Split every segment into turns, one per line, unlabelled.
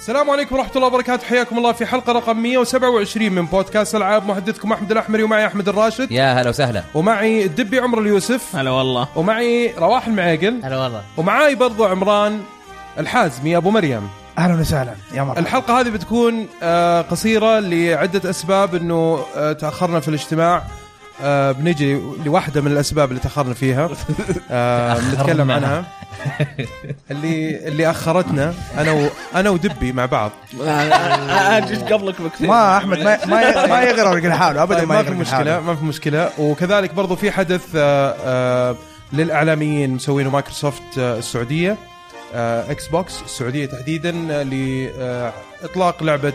السلام عليكم ورحمة الله وبركاته حياكم الله في حلقة رقم 127 من بودكاست ألعاب محدثكم أحمد الأحمري ومعي أحمد الراشد
يا أه. هلا وسهلا
ومعي الدبي عمر اليوسف
هلا والله
ومعي رواح المعاقل
هلا والله
ومعاي برضو عمران الحازمي أبو مريم
اهلا وسهلا يا مرحبا
الحلقة هذه بتكون آه، قصيرة لعدة أسباب أنه آه، تأخرنا في الاجتماع آه، بنجي لواحدة من الأسباب اللي تأخرنا فيها آه، بنتكلم عنها اللي اللي أخرتنا أنا و أنا ودبي مع بعض
اجيت قبلك بكثير
ما احمد ما ما, ما يغرق لحاله ابدا
طيب
ما
ما في
يغرق
مشكله
لحاله
ما في مشكله وكذلك برضو في حدث آه، آه، للاعلاميين مسوينه مايكروسوفت آه، السعوديه آه، اكس بوكس السعوديه تحديدا آه، لاطلاق لعبه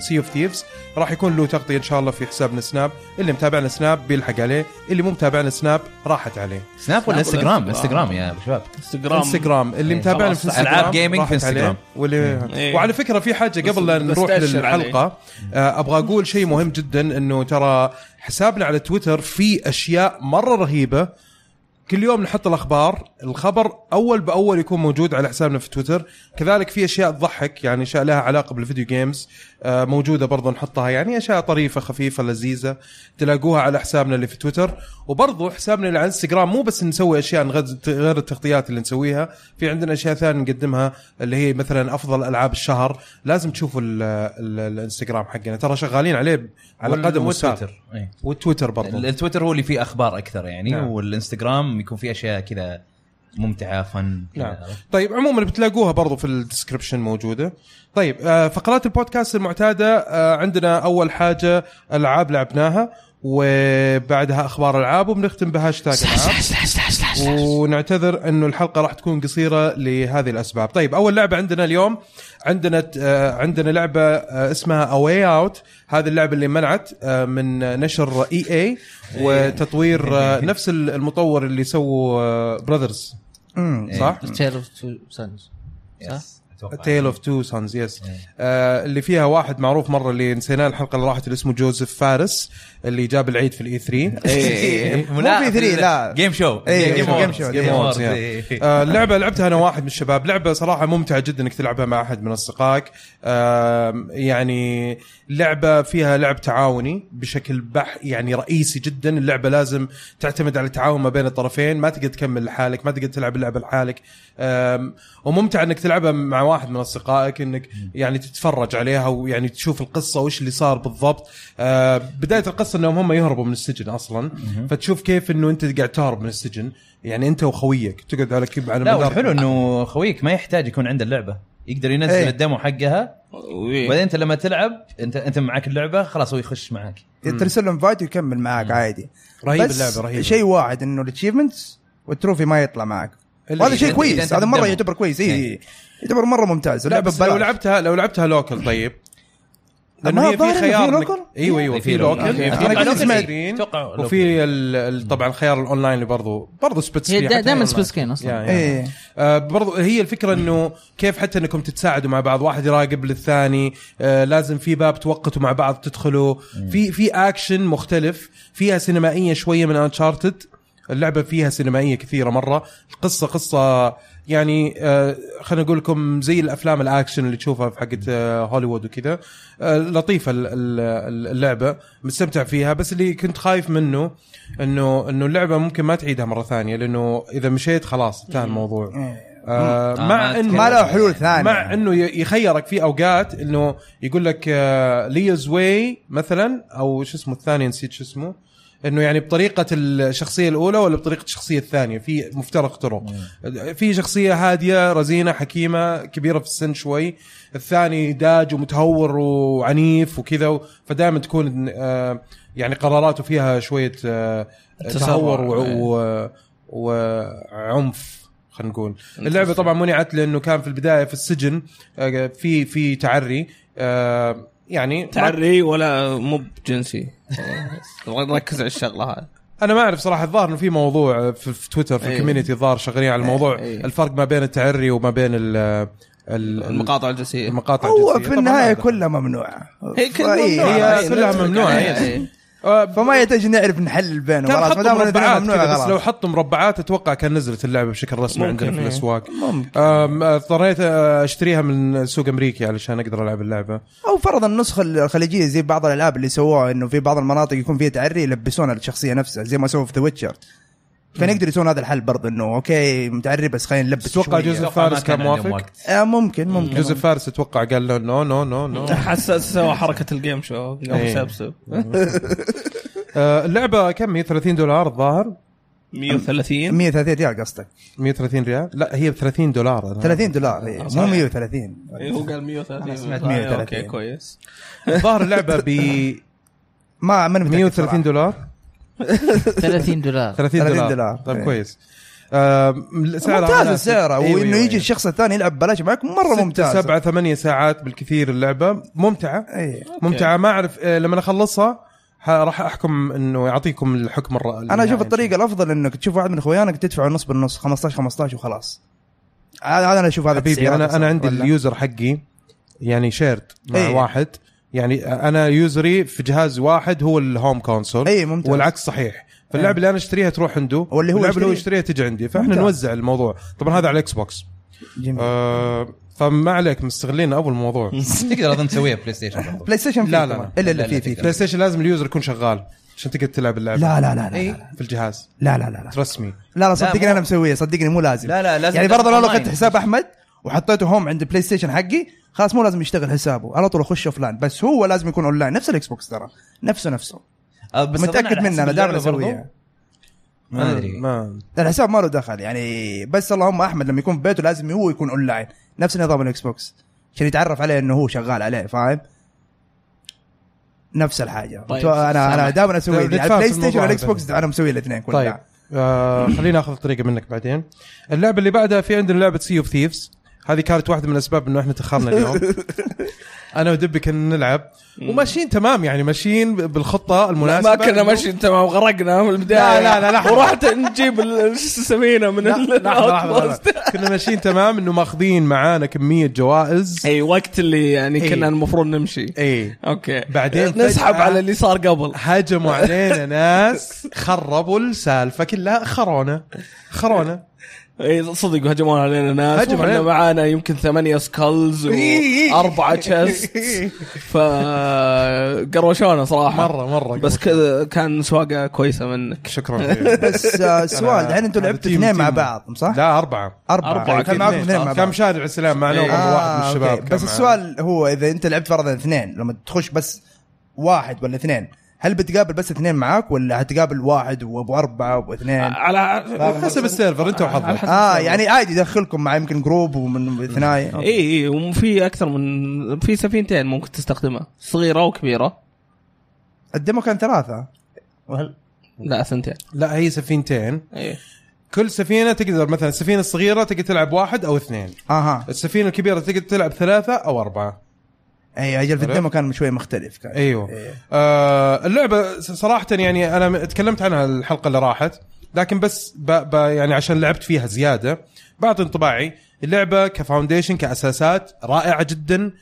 سي اوف ثيفز راح يكون له تغطيه ان شاء الله في حسابنا سناب اللي متابعنا سناب بيلحق عليه اللي مو متابعنا سناب راحت عليه
سناب ولا انستغرام؟ انستغرام يا شباب
انستغرام
انستغرام اللي
إيه.
متابعنا
خلاص،
في انستغرام
ألعاب gaming
راحت
في انستغرام.
عليه. واللي...
إيه.
وعلى فكره في حاجه قبل لا
بس
نروح
تأشر
للحلقه آه، ابغى اقول شيء مهم جدا انه ترى حسابنا على تويتر في اشياء مره رهيبه كل يوم نحط الاخبار الخبر اول باول يكون موجود على حسابنا في تويتر كذلك في اشياء تضحك يعني اشياء لها علاقه بالفيديو جيمز آه، موجوده برضه نحطها يعني اشياء طريفه خفيفه لذيذه تلاقوها على حسابنا اللي في تويتر وبرضه حسابنا اللي على انستغرام مو بس نسوي اشياء نغز- غير التغطيات اللي نسويها في عندنا اشياء ثانيه نقدمها اللي هي مثلا افضل العاب الشهر لازم تشوفوا ال ال الانستغرام حقنا ترى شغالين عليه على قدم وساق
والتويتر إيه.
والتويتر
ال-
برضه
التويتر هو اللي فيه اخبار اكثر يعني
نعم.
نعم. والانستغرام يكون فيه اشياء كذا ممتعه فن كذا.
نعم. طيب عموما بتلاقوها برضو في الديسكربشن موجوده طيب آه، فقرات البودكاست المعتاده آه، عندنا اول حاجه العاب لعبناها وبعدها اخبار العاب وبنختم بهاشتاج العاب ونعتذر انه الحلقه راح تكون قصيره لهذه الاسباب طيب اول لعبه عندنا اليوم عندنا آه، عندنا لعبه آه، اسمها اواي اوت هذه اللعبه اللي منعت آه، من نشر اي اي وتطوير آه، نفس المطور اللي سووا براذرز
أمم.
صح
تيل اوف تو سانز
يس. أتوقع.
تيل اوف تو سانز يس Uh, اللي فيها واحد معروف مره اللي نسيناه الحلقه اللي راحت اللي اسمه جوزيف فارس اللي جاب العيد في الاي 3
إيه.
مو في 3 لا
جيم شو
إيه، Game Awards. Game
جيم
Awards،
اووردز
yeah. آه، اللعبه لعبتها انا واحد من الشباب لعبه صراحه ممتعه جدا انك تلعبها مع احد من اصدقائك آم، يعني لعبه فيها لعب تعاوني بشكل بح يعني رئيسي جدا اللعبه لازم تعتمد على التعاون ما بين الطرفين ما تقدر تكمل لحالك ما تقدر تلعب اللعبه لحالك آم، وممتع انك تلعبها مع واحد من اصدقائك انك يعني تتفرج عليها ويعني تشوف القصه وايش اللي صار بالضبط آه، بدايه القصه انهم هم يهربوا من السجن اصلا فتشوف كيف انه انت قاعد تهرب من السجن يعني انت وخويك تقعد على كيب على
لا
مدار-
والحلو انه خويك ما يحتاج يكون عنده اللعبه يقدر ينزل
إيه.
الدمو حقها وبعدين انت لما تلعب انت انت معك اللعبه خلاص هو يخش معك
ترسل له انفايت ويكمل معاك عادي
رهيب
بس
اللعبه رهيب
شيء واحد انه الاتشيفمنتس والتروفي ما يطلع معك
إلا
وهذا
إذا-
شيء
إذا
كويس
أنت
هذا مره
بالدمو.
يعتبر كويس اي
إيه.
يعتبر مره ممتاز
لا
اللعبة
بس لو
ببلاش.
لعبتها لو لعبتها لوكل طيب
ما
لانه هي
الظاهر
في
إنه
خيار
في
إنك-
لوكل؟
ايوه ايوه في
في لوكل.
لوكل
أوكي.
أنا
أتوقع
كنت
لوكل.
سمعت.
أتوقع لوكل.
وفي ال- ال- طبعا الخيار الاونلاين اللي برضو برضو سبيتس
هي
فيه،
دا-
حتى
دايما
الأونلاين.
سبيس كين أصلاً.
يا- يا.
ايه
آه، برضو هي الفكره انه كيف حتى انكم تتساعدوا مع بعض واحد يراقب للثاني آه، لازم في باب توقتوا مع بعض تدخلوا في في اكشن مختلف فيها سينمائيه شويه من انشارتد اللعبه فيها سينمائيه كثيره مره القصه قصه يعني آه، خلينا اقول لكم زي الافلام الاكشن اللي تشوفها في حقت آه، هوليوود وكذا آه، لطيفه ال- ال- اللعبه مستمتع فيها بس اللي كنت خايف منه انه انه اللعبه ممكن ما تعيدها مره ثانيه لانه اذا مشيت خلاص انتهى الموضوع آه،
آه،
مع
ما
انه
ما له حلول ثانيه
مع انه ي- يخيرك في اوقات انه يقول لك آه، ليز واي مثلا او شو اسمه الثاني نسيت شو اسمه انه يعني بطريقه الشخصيه الاولى ولا بطريقه الشخصيه الثانيه في مفترق طرق في شخصيه هاديه رزينه حكيمه كبيره في السن شوي الثاني داج ومتهور وعنيف وكذا فدائما تكون آه، يعني قراراته فيها شويه آه،
التسرع.
تهور
إيه.
و- و- وعنف خلينا نقول اللعبه طبعا منعت لانه كان في البدايه في السجن آه، في في تعري آه، يعني ما-
تعري ولا مو بجنسي نبغى نركز على الشغله هذه
انا ما اعرف صراحه الظاهر انه في موضوع آه، في, في تويتر في
إيه.
الكوميونتي الظاهر شغالين على الموضوع
إيه.
الفرق ما بين التعري وما بين ال آه، ال-
المقاطع الجنسيه
المقاطع
هو
الجنسية.
في
طبعاً
النهايه
هذا.
كلها ممنوعه
هي كلها
فإيه،
ممنوعة.
هي كلها
نتفق
ممنوعة،
عليها.
يس.
إيه.
فما يحتاج نعرف نحلل بينهم
آه، كان
خلاص ما
حطوا
دام الاثنين
مربعات
ممنوع
كذا، بس لو
خلاص
حطوا مربعات اتوقع كان نزلت اللعبه بشكل رسمي
ممكن،
عندنا في
إيه.
الاسواق
ممكن
أم، اضطريت آه، اشتريها من سوق امريكي علشان اقدر العب اللعبه
او فرضا النسخه الخليجيه زي بعض الالعاب اللي سووها انه في بعض المناطق يكون فيها تعري يلبسون الشخصيه نفسها زي ما سووا في ذا ويتشر كان يقدر يسوون هذا الحل برضه انه اوكي متعري بس خلينا نلبس
تتوقع
شوية.
جوزيف
أتوقع ما
فارس كان
عندهم
موافق؟
وقت.
آه ممكن ممكن
جوزيف فارس اتوقع قال له نو نو نو نو
حس سوى حركه الجيم شو
إيه.
قام سبسب
آه، اللعبه كم هي 30 دولار الظاهر
130
130 ريال قصدك
130 ريال لا هي ب 30 دولار أنا-
30 دولار
آه،
إيه، مو 130
إيه، هو قال 130
أنا سمعت
آه،
130.
اوكي كويس
الظاهر اللعبه ب
ما من
130 دولار
30 دولار
30
30
دولار,
دولار.
طيب
إيه.
كويس آم، سعرها مناسب.
ممتاز سعره
أيوة،
وانه
أيوة،
يجي
أيوة.
الشخص الثاني يلعب ببلاش معك مره
ستة،
ممتاز
سبعة إيوه. ثمانية ساعات بالكثير اللعبة ممتعة
إيه.
ممتعة ما أعرف آه، لما أخلصها ح- راح أحكم أنه يعطيكم الحكم الر... يعني.
انا
النهائي.
اشوف الطريقه الافضل انك تشوف واحد من اخوانك تدفعه نص بالنص 15 15 وخلاص هذا هذا انا اشوف هذا
حبيبي
السعر
أنا
أصلاً.
أنا عندي
ولا؟
اليوزر حقي يعني شيرد مع
إيه.
واحد يعني أنا يوزري في جهاز واحد هو الهوم كونسول
إيه، ممتاز.
والعكس صحيح فاللعبة اللي أنا أشتريها تروح عنده
واللي هو
واللعبة اللي هو
يشتري-
يشتريها تجي عندي فإحنا
ممتاز.
نوزع الموضوع طبعا هذا على الإكس بوكس
جميل.
آه، فما عليك مستغلين أبو الموضوع
تقدر اظن تسويها بلاي ستيشن برضو.
بلاي ستيشن
لا، لا،
لا لا
لا.
الا اللي
لا،
فيه
لا،
فيه
فكرة.
بلاي ستيشن لازم اليوزر يكون شغال عشان تقدر تلعب اللعبه
لا لا لا لا
اي في الجهاز
لا لا لا لا
رسمي
لا لا صدقني
إيه؟ مو-
انا مسويه صدقني مو لازم
لا، لا، لازم
يعني فرضا لو
أونلاين.
اخذت حساب احمد وحطيته هوم عند بلاي ستيشن حقي خلاص مو لازم يشتغل حسابه على طول اخش اوف لاين بس هو لازم يكون اون لاين نفس الاكس بوكس ترى نفسه نفسه
آه، بس أظن
متاكد
على حسب
منه انا دائما
اللعبة برضو.
اسويها
ما ادري
ما
الحساب ما له دخل يعني بس اللهم احمد لما يكون في بيته لازم هو يكون اون لاين نفس نظام الاكس بوكس عشان يتعرف عليه انه هو شغال عليه فاهم نفس الحاجه
طيب،
طيب انا انا
سامح.
دائما اسوي
نتفاهم
على البلاي
في الموضوع
ستيشن والاكس
هذا.
بوكس انا مسوي الاثنين كلها
طيب آه خلينا اخذ الطريقه منك بعدين اللعبه اللي بعدها في عندنا لعبه سي اوف ثيفز هذه كانت واحده من الاسباب انه احنا تاخرنا اليوم انا ودبي كنا نلعب وماشيين تمام يعني ماشيين بالخطه المناسبه
ما كنا
إنه-
ماشيين تمام غرقنا من البدايه
لا، لا، لا، لحظة.
ورحت نجيب ال- شو يسمينه من
لا،
ال-
لحظة، لحظة، لحظة.
الأوتبوست.
كنا ماشيين تمام انه ماخذين معانا كميه جوائز
اي وقت اللي يعني
إي.
كنا المفروض نمشي
اي
اوكي
بعدين
نسحب
فجأة-
على اللي صار قبل
هجموا علينا ناس خربوا السالفه كلها خرونا خرونا
اي صدق هجمون علينا ناس
هجموا علينا.
هجموا معانا يمكن ثمانية سكالز واربعة تشيست فقروشونا صراحة
مره مره
بس كذا كان سواقة كويسة منك
شكرا
بس آه، سؤال الحين انتوا
هذا
لعبتوا
تيم-
اثنين مع
تيم.
بعض صح؟
لا اربعه
أربعة
أربعة
كان
أكيد.
معكم اثنين مع بعض آه،
كم شارع السلام معنا
إيه.
وغير واحد من الشباب
أوكي.
كان
بس
معنا.
السؤال هو اذا انت لعبت فرضا اثنين لما تخش بس واحد ولا اثنين هل بتقابل بس اثنين معاك ولا هتقابل واحد وابو اربعه واثنين؟
على
حسب السيرفر انت وحظك
اه يعني عادي يدخلكم مع يمكن جروب ومن اثنين
اي اي وفي اكثر من في سفينتين ممكن تستخدمها صغيرة وكبيرة
الديمو كان ثلاثه
لا ثنتين
لا هي سفينتين
اي
كل سفينه تقدر مثلا السفينه الصغيره تقدر تلعب واحد او اثنين
اها
السفينه الكبيره تقدر تلعب ثلاثه او اربعه
اي اجل في
عرفت؟
الديمو يعني كان شوي مختلف كان إيه.
ايوه آه اللعبه صراحه يعني انا م- تكلمت عنها الحلقه اللي راحت لكن بس ب ب يعني عشان لعبت فيها زياده بعطي انطباعي اللعبه كفاونديشن كاساسات رائعه جدا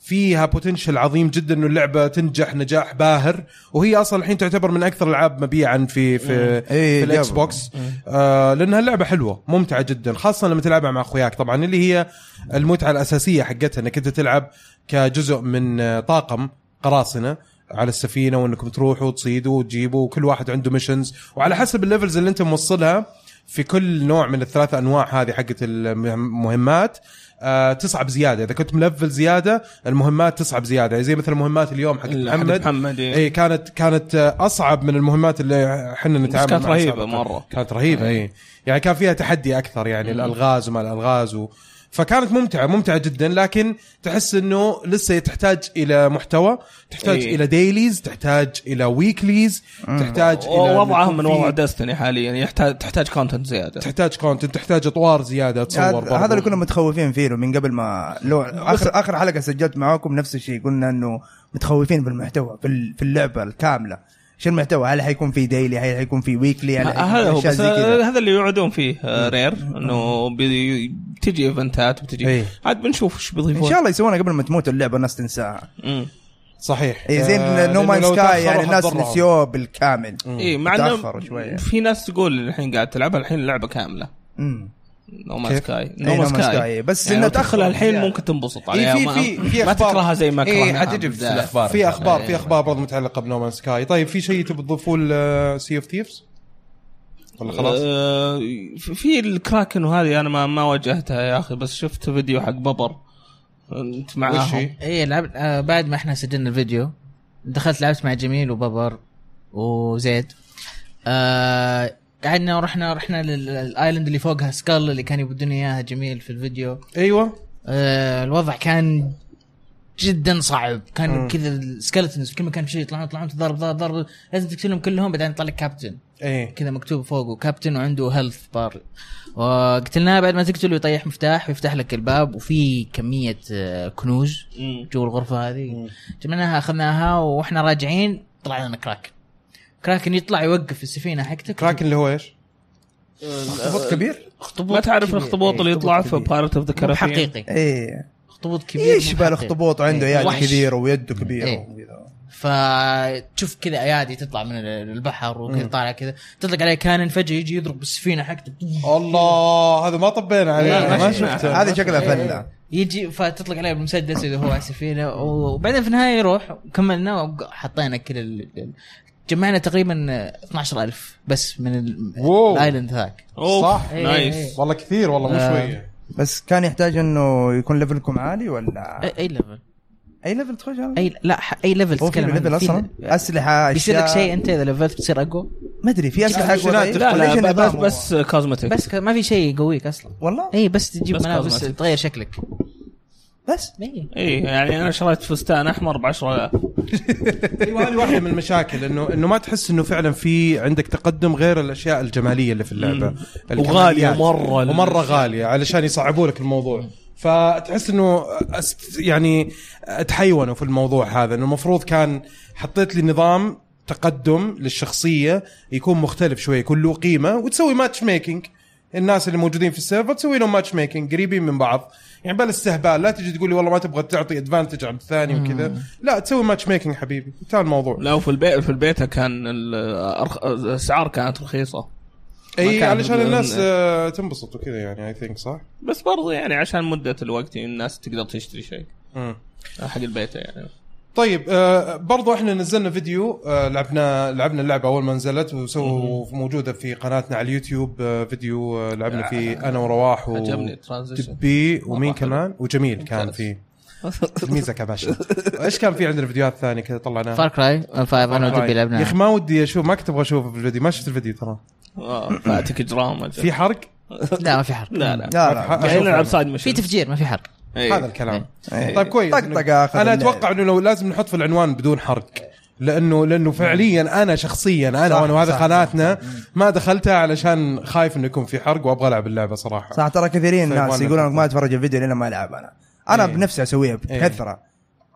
فيها بوتنشل عظيم جدا انه اللعبه تنجح نجاح باهر وهي اصلا الحين تعتبر من اكثر الالعاب مبيعا في في,
إيه،
في الاكس
جابوا.
بوكس آه لانها اللعبه حلوه ممتعه جدا خاصه لما تلعبها مع اخوياك طبعا اللي هي المتعه الاساسيه حقتها انك انت تلعب كجزء من آه، طاقم قراصنه على السفينه وانكم تروحوا وتصيدوا وتجيبوا وكل واحد عنده ميشنز وعلى حسب الليفلز اللي انت موصلها في كل نوع من الثلاثة انواع هذه حقت المهمات آه تصعب زياده اذا كنت ملفل زياده المهمات تصعب زياده زي مثل مهمات اليوم حقت محمد
محمد إي.
اي كانت كانت اصعب من المهمات اللي احنا نتعامل
كانت
معها
رهيبة
سابقاً.
مرة.
كانت رهيبه اي يعني كان فيها تحدي اكثر يعني الالغاز وما الالغاز و... فكانت ممتعه ممتعه جدا لكن تحس انه لسه تحتاج الى محتوى تحتاج
إي.
الى ديليز تحتاج الى ويكليز تحتاج الى
وضعهم من
إنه يكون
وضع
في-
دستني حاليا يحتاج تحتاج كونتنت زياده
تحتاج كونتنت تحتاج اطوار زياده اتصور
هذا
برضو.
هذا اللي كنا متخوفين فيه له من قبل ما لو اخر اخر حلقه سجلت معاكم نفس الشيء قلنا انه متخوفين بالمحتوى في ال- في اللعبه الكامله شو المحتوى هل حيكون في ديلي هل حيكون في ويكلي هل
ه-
حيكون
هذا هو
يعني أشياء
بس
زي كذا؟
هذا اللي يوعدون فيه آه، رير انه بي- بتجي ايفنتات
إي.
إيه.
وبتجي عاد بنشوف ايش
ان
بيضيفون
شاء الله يسوونها قبل ما تموت اللعبه الناس تنساها
مم.
صحيح
إيه
آه،
زين نو
لأنه
مان
لو
سكاي
تأخروا
يعني الناس
حتضرهم.
نسيوه بالكامل
اي إيه، مع انه
تأخروا شوية.
في ناس تقول الحين قاعد تلعبها الحين اللعبه كامله
مم.
نو مان
كيف؟
سكاي
إيه، No Man's Sky. بس
يعني
إنه
لو تدخلها
تأخر. إيه،
الحين ممكن تنبسط عليها
في-
ما-
في- في
ما
أخبار.
تكرهها زي ما
إيه،
كرهناها
حتجي في
بالبداية.
الأخبار.
في اخبار
إيه.
في اخبار برضه متعلقه بنومان سكاي طيب في شيء تبي تضيفوه لسي اوف ثيفز؟ ولا خلاص؟
آه، في- في الكراكن وهذه انا ما ما واجهتها يا اخي بس شفت فيديو حق ببر انت
وش
معاهم
هي؟
اي لعبت آه بعد ما احنا سجلنا الفيديو دخلت لعبت مع جميل وببر وزيد آه قعدنا ورحنا رحنا للايلاند اللي فوقها سكال اللي كان يبدون اياها جميل في الفيديو
ايوه
آه الوضع كان جدا صعب كان كذا السكلتنز كل مكان شيء يطلعون يطلعون تضرب ضرب ضرب لازم تقتلهم كلهم بعدين يطلع لك كابتن
ايه
كذا مكتوب فوقه كابتن وعنده هيلث بار وقتلناه بعد ما تقتله يطيح مفتاح ويفتح لك الباب وفي كميه آه، كنوز
مم.
جوا الغرفه هذه جمعناها اخذناها واحنا راجعين طلع لنا كراكن كراكن يطلع يوقف السفينه حقتك
كراكن اللي هو ايش؟
أه،
خطوط كبير
اخطبوط
ما تعرف
كبير.
الاخطبوط اللي
إيه،
يطلع
اخطبوط
في
كبير.
بارت اوف ذا
مو
كارابين
حقيقي
ايه
اخطبوط كبير
يشبه
مو حقيقي.
الاخطبوط عنده
إيه،
ايادي
وحش.
كبيره ويده كبيره
إيه.
وكذا.
فتشوف كذا ايادي تطلع من البحر وكذا طالع كذا تطلق عليه كانن فجاه يجي يضرب بالسفينه حقته
الله هذا ما طبينا عليه
إيه.
ما شفته
هذه شكلها فله
يجي فتطلق عليه بالمسدس اذا هو على السفينه وبعدين في النهايه يروح وكملنا وحطينا كل ال- ال- جمعنا تقريبا 12000 بس من ال-
واو.
الايلاند ذاك
أوف،
صح.
إيه، إيه.
نايس
والله كثير والله مو
أه.
آه.
شويه
بس كان يحتاج انه يكون ليفلكم عالي ولا
أي- اي ليفل
اي ليفل تخش هذا؟
اي لا ح- اي ليفل
هو في
تتكلم عنه.
ليفل
في-
اصلا اسلحه
بيصير لك
أشياء.
شيء انت اذا ليفلت بتصير اقوى
ما ادري في اسلحه أقوى
لا،
طيب؟
لا
ولا إيش
لا بس
النظام
بس كوزمتك
بس إيه. ك- ما في شيء يقويك اصلا
هو؟ والله
اي بس تجيب
بس
ملابس
كوزماتيك.
تغير شكلك
بس
اي
اي يعني انا شريت فستان احمر ب 10000
ايوه هذه واحده من المشاكل انه انه ما تحس انه فعلا في عندك تقدم غير الاشياء الجماليه اللي في اللعبه
مم.
الكماليات.
وغالية مرة.
ومره غاليه علشان يصعبوا لك الموضوع فتحس انه أست يعني تحيونوا في الموضوع هذا انه المفروض كان حطيت لي نظام تقدم للشخصيه يكون مختلف شوي يكون له قيمه وتسوي ماتش ميكنج الناس اللي موجودين في السيرفر تسوي لهم ماتش ميكنج قريبين من بعض يعني بلا استهبال لا تجي تقول لي والله ما تبغى تعطي ادفانتج على الثاني وكذا لا تسوي ماتش ميكنج حبيبي انتهى الموضوع
لو في البيت في البيت كان ال- أرخ- الاسعار كانت رخيصه ما
اي
كان
علشان
بدون-
الناس آه، تنبسط وكذا يعني اي ثينك صح؟
بس برضه يعني عشان مده الوقت يعني الناس تقدر تشتري شيء
مم.
حق البيت يعني
طيب آه، برضو احنا نزلنا فيديو آه، لعبنا لعبنا اللعبه اول ما نزلت وسووا موجوده في قناتنا على اليوتيوب آه، فيديو آه، لعبنا فيه انا ورواح و
عجبني الترانزيشن
دبي ومين
مرة حلو.
كمان وجميل كان
ممتاز.
فيه تلميذك يا باشا ايش كان في عندنا فيديوهات ثانيه كذا طلعناها طيب.
فار كراي 5 انا ودبي
يا اخي
لعبناها
ما ودي اشوف ما كنت ابغى اشوفه في الفيديو ما شفت الفيديو ترى
آه، فاتك جرام
في حرق
لا ما في حرق
لا لا
لا
أبحث-
لا
يعني
أشوف
نلعب
يعني.
سايد
في
مشن
تفجير ما في حرق
إيه.
هذا الكلام
إيه.
طيب كويس
طقطقة آخر
انا
الليل.
اتوقع انه لو لازم نحط في العنوان بدون حرق لانه لانه فعليا انا شخصيا انا
صح،
وانا وهذا
صح.
قناتنا ما دخلتها علشان خايف انه يكون في حرق وابغى العب اللعبه صراحه
صح ترى كثيرين
طيب،
ناس
وأنا
يقولون
أتفق.
ما اتفرج الفيديو لين ما العب انا انا
إيه.
بنفسي اسويها
إيه.
بكثره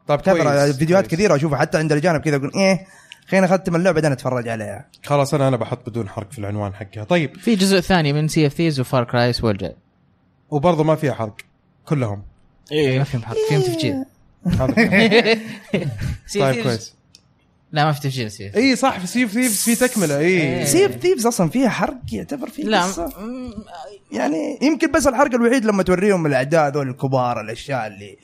طيب
كثره
كويس
فيديوهات
كويس.
كثيره اشوفها حتى عند الجانب كذا اقول ايه خلينا اختم اللعبه بعدين اتفرج عليها
خلاص انا انا بحط بدون حرق في العنوان حقها طيب
في جزء ثاني من سي اف ثيز وفار كراي الجاي
وبرضه ما فيها حرق كلهم
ما
ايه
فيهم حرق فيهم تفجير
هذا كلام.
سي
طيب كويس
لا ما في تفجير سي
اي صح في سيف ثيفز في تكمله اي
إيه.
سي اوف ثيفز اصلا فيها حرق يعتبر فيه
لا
قصة. يعني يمكن بس الحرق الوحيد لما توريهم الاعداء هذول الكبار الاشياء اللي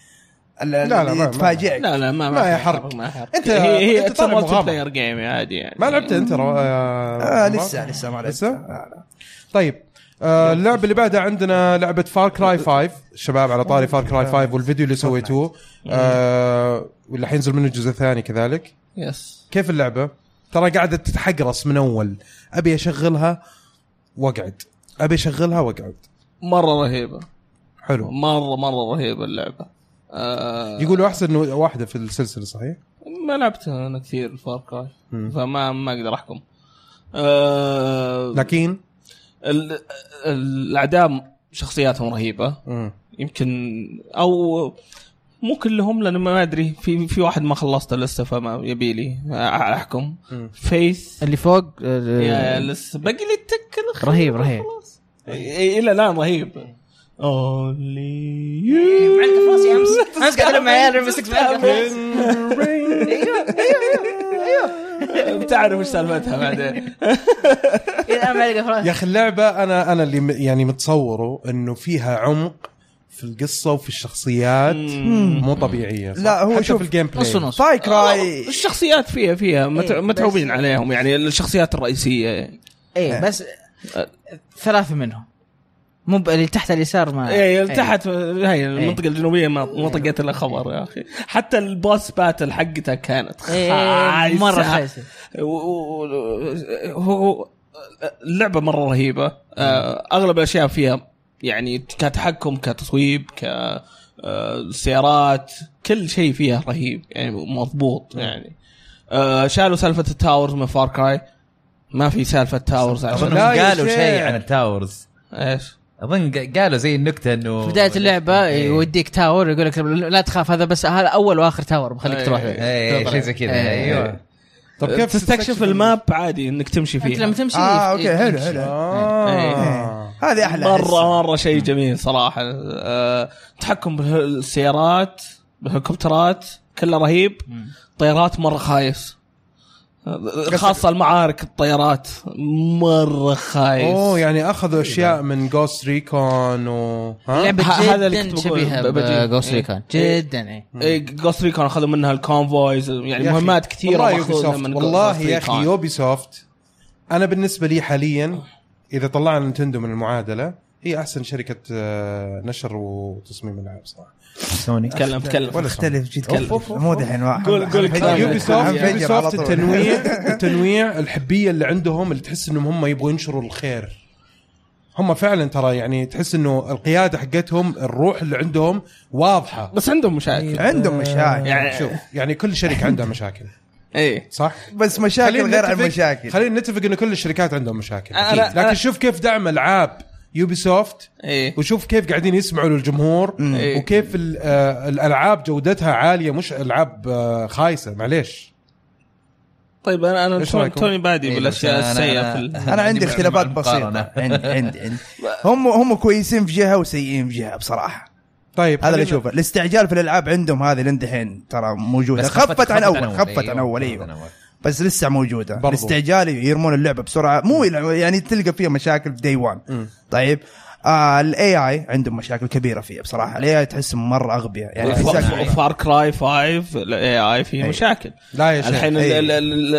لا، لا، ما-
اللي
ما-
تفاجئك
لا لا ما
ما هي
في
حرق.
ما حرق
أنت-
هي هي
أنت
يعتبر
تلعب
ملتي
مغامرة.
بلاير جيم عادي يعني
ما لعبت انت رو... آه...
آه لسه لسه ما لعبت.
لسه؟
لا، لا.
طيب آه اللعبه اللي بعدها عندنا لعبه فار كراي 5 الشباب على طاري فار كراي 5 والفيديو اللي سويتوه آه واللي حينزل منه الجزء الثاني كذلك
يس
كيف اللعبه؟ ترى قاعده تتحقرص من اول ابي اشغلها واقعد ابي اشغلها واقعد
مره رهيبه
حلو
مره مره رهيبه اللعبه آه
يقولوا احسن إنه واحده في السلسله صحيح؟
ما لعبت انا كثير فار كراي فما ما اقدر احكم آه
لكن
ال- الاعداء شخصياتهم رهيبه
مم.
يمكن او مو كلهم لان ما ادري في في واحد ما خلصته لسه فما يبي لي احكم
مم.
فيث
اللي فوق
يا
آه،
لسه باقي لي التك الأخير
رهيب رهيب
خلاص. إيه، إي- الى الان رهيب اونلي
معلقة في راسي أمس. اتكلم مع عيال ريمبو 6 أيوه،
بتعرف ايش سالفتها بعدين
ما عليك
يا
خلاص
اخي اللعبه انا انا اللي م- يعني متصوره انه فيها عمق في القصه وفي الشخصيات مو طبيعيه صح؟
لا، هو
حتى
شوف،
في الجيم بلاي
نص ونص
فاي
آه،
كراي
الشخصيات فيها فيها مت-
إيه، بس-
متعوبين عليهم يعني الشخصيات الرئيسيه يعني.
اي إيه،
آه.
بس ثلاثه منهم مو ب- اللي تحت اليسار ما
إيه،
ايه تحت هاي المنطقه الجنوبيه ما ما
إيه.
طقيت الا خبر يا اخي حتى الباس باتل حقتها كانت
إيه،
خايسه
مره خايسه
و- و- و- هو اللعبه مره رهيبه آه، اغلب الاشياء فيها يعني كتحكم كتصويب ك آه، سيارات كل شيء فيها رهيب يعني مضبوط يعني آه، شالوا سالفه التاورز من فار كراي ما في سالفه تاورز
اظن
لا
هم
يا
قالوا
شيخ.
شيء عن التاورز
ايش
اظن ق- قالوا زي النكته انه
في بدايه اللعبه
إيه.
يوديك تاور يقول لك لا تخاف هذا بس هذا اول واخر تاور بخليك
إيه.
تروح له.
ايه شيء زي كذا
إيه.
ايوه
طب كيف
تستكشف الماب عادي انك تمشي
انت
فيها
لما تمشي
اه اوكي حلو
تمشي.
حلو
إيه.
آه.
هذه احلى أحس.
مره مره شيء جميل صراحه أه تحكم بالسيارات بالهليكوبترات كله رهيب طيارات مره خايس أه، خاصه المعارك الطيارات مره خايس
اوه يعني اخذوا
إيه.
اشياء من جوست ريكون و ها؟
لعبه
ه- هذا اللي
جدا
كنت بقول-
شبيهه
بجيب.
بجوست
إيه.
ريكون جدا اي
جوست ريكون اخذوا منها الكونفويز يعني
يا أخي،
مهمات كثيره
والله يوبي
مأخوذة
سوفت
من
والله
Ghost
يا اخي
Recon.
يوبي سوفت انا بالنسبه لي حاليا اذا طلعنا نينتندو من المعادله هي احسن شركه آه، نشر وتصميم العاب صراحه
سوني
تكلم تكلم
ولا
اختلف جد
أوف، أوف،
كثير
أوف.
مو دحين واحد
قول- قول
أنا
كلام.
بجد-
يوبي سوفت
أنا
يوبي
بجد طيب. على
سوفت
طول.
التنويع التنويع الحبيه اللي عندهم اللي تحس انهم هم يبغوا ينشروا الخير هم فعلا ترى يعني تحس انه القياده حقتهم الروح اللي عندهم واضحه
بس عندهم مشاكل
إيه.
عندهم مشاكل
يعني شوف
يعني كل شركه عندها مشاكل
ايه
صح؟
بس مشاكل غير عن
نتفق-
مشاكل
خلينا نتفق انه كل الشركات عندهم مشاكل
أنا-
أكيد.
أنا-
لكن شوف كيف دعم العاب يوبي سوفت
ايه
وشوف كيف قاعدين يسمعوا للجمهور
إيه.
وكيف ال- آه، الالعاب جودتها عاليه مش العاب آه، خايسه معليش
طيب انا انا
إيش
توني-
رأيكم؟
توني بادي
إيه،
بالاشياء
بس أنا-
السيئه
أنا-
في ال-
انا عندي
مع-
اختلافات
مع
بسيطه
المقارنة.
عندي عندي عندي هم هم كويسين في جهه وسيئين في جهه بصراحه
طيب
هذا اللي
خلينا-
اشوفه الاستعجال في الالعاب عندهم هذه لين دحين ترى موجوده
بس
خفت عن اول خفت
أيوه،
عن اول
خفت
ايوه
عن أول.
بس لسه موجوده
برضو.
الاستعجال يرمون اللعبه بسرعه مو يلع- يعني تلقى فيها مشاكل في دي 1 طيب آه الاي اي عندهم مشاكل كبيره فيه بصراحه الاي اي تحس مره اغبياء يعني حساك-
فار كراي 5 الاي اي في
إيه.
أي.
مشاكل
لا يا شيخ إيه.
الحين
أي.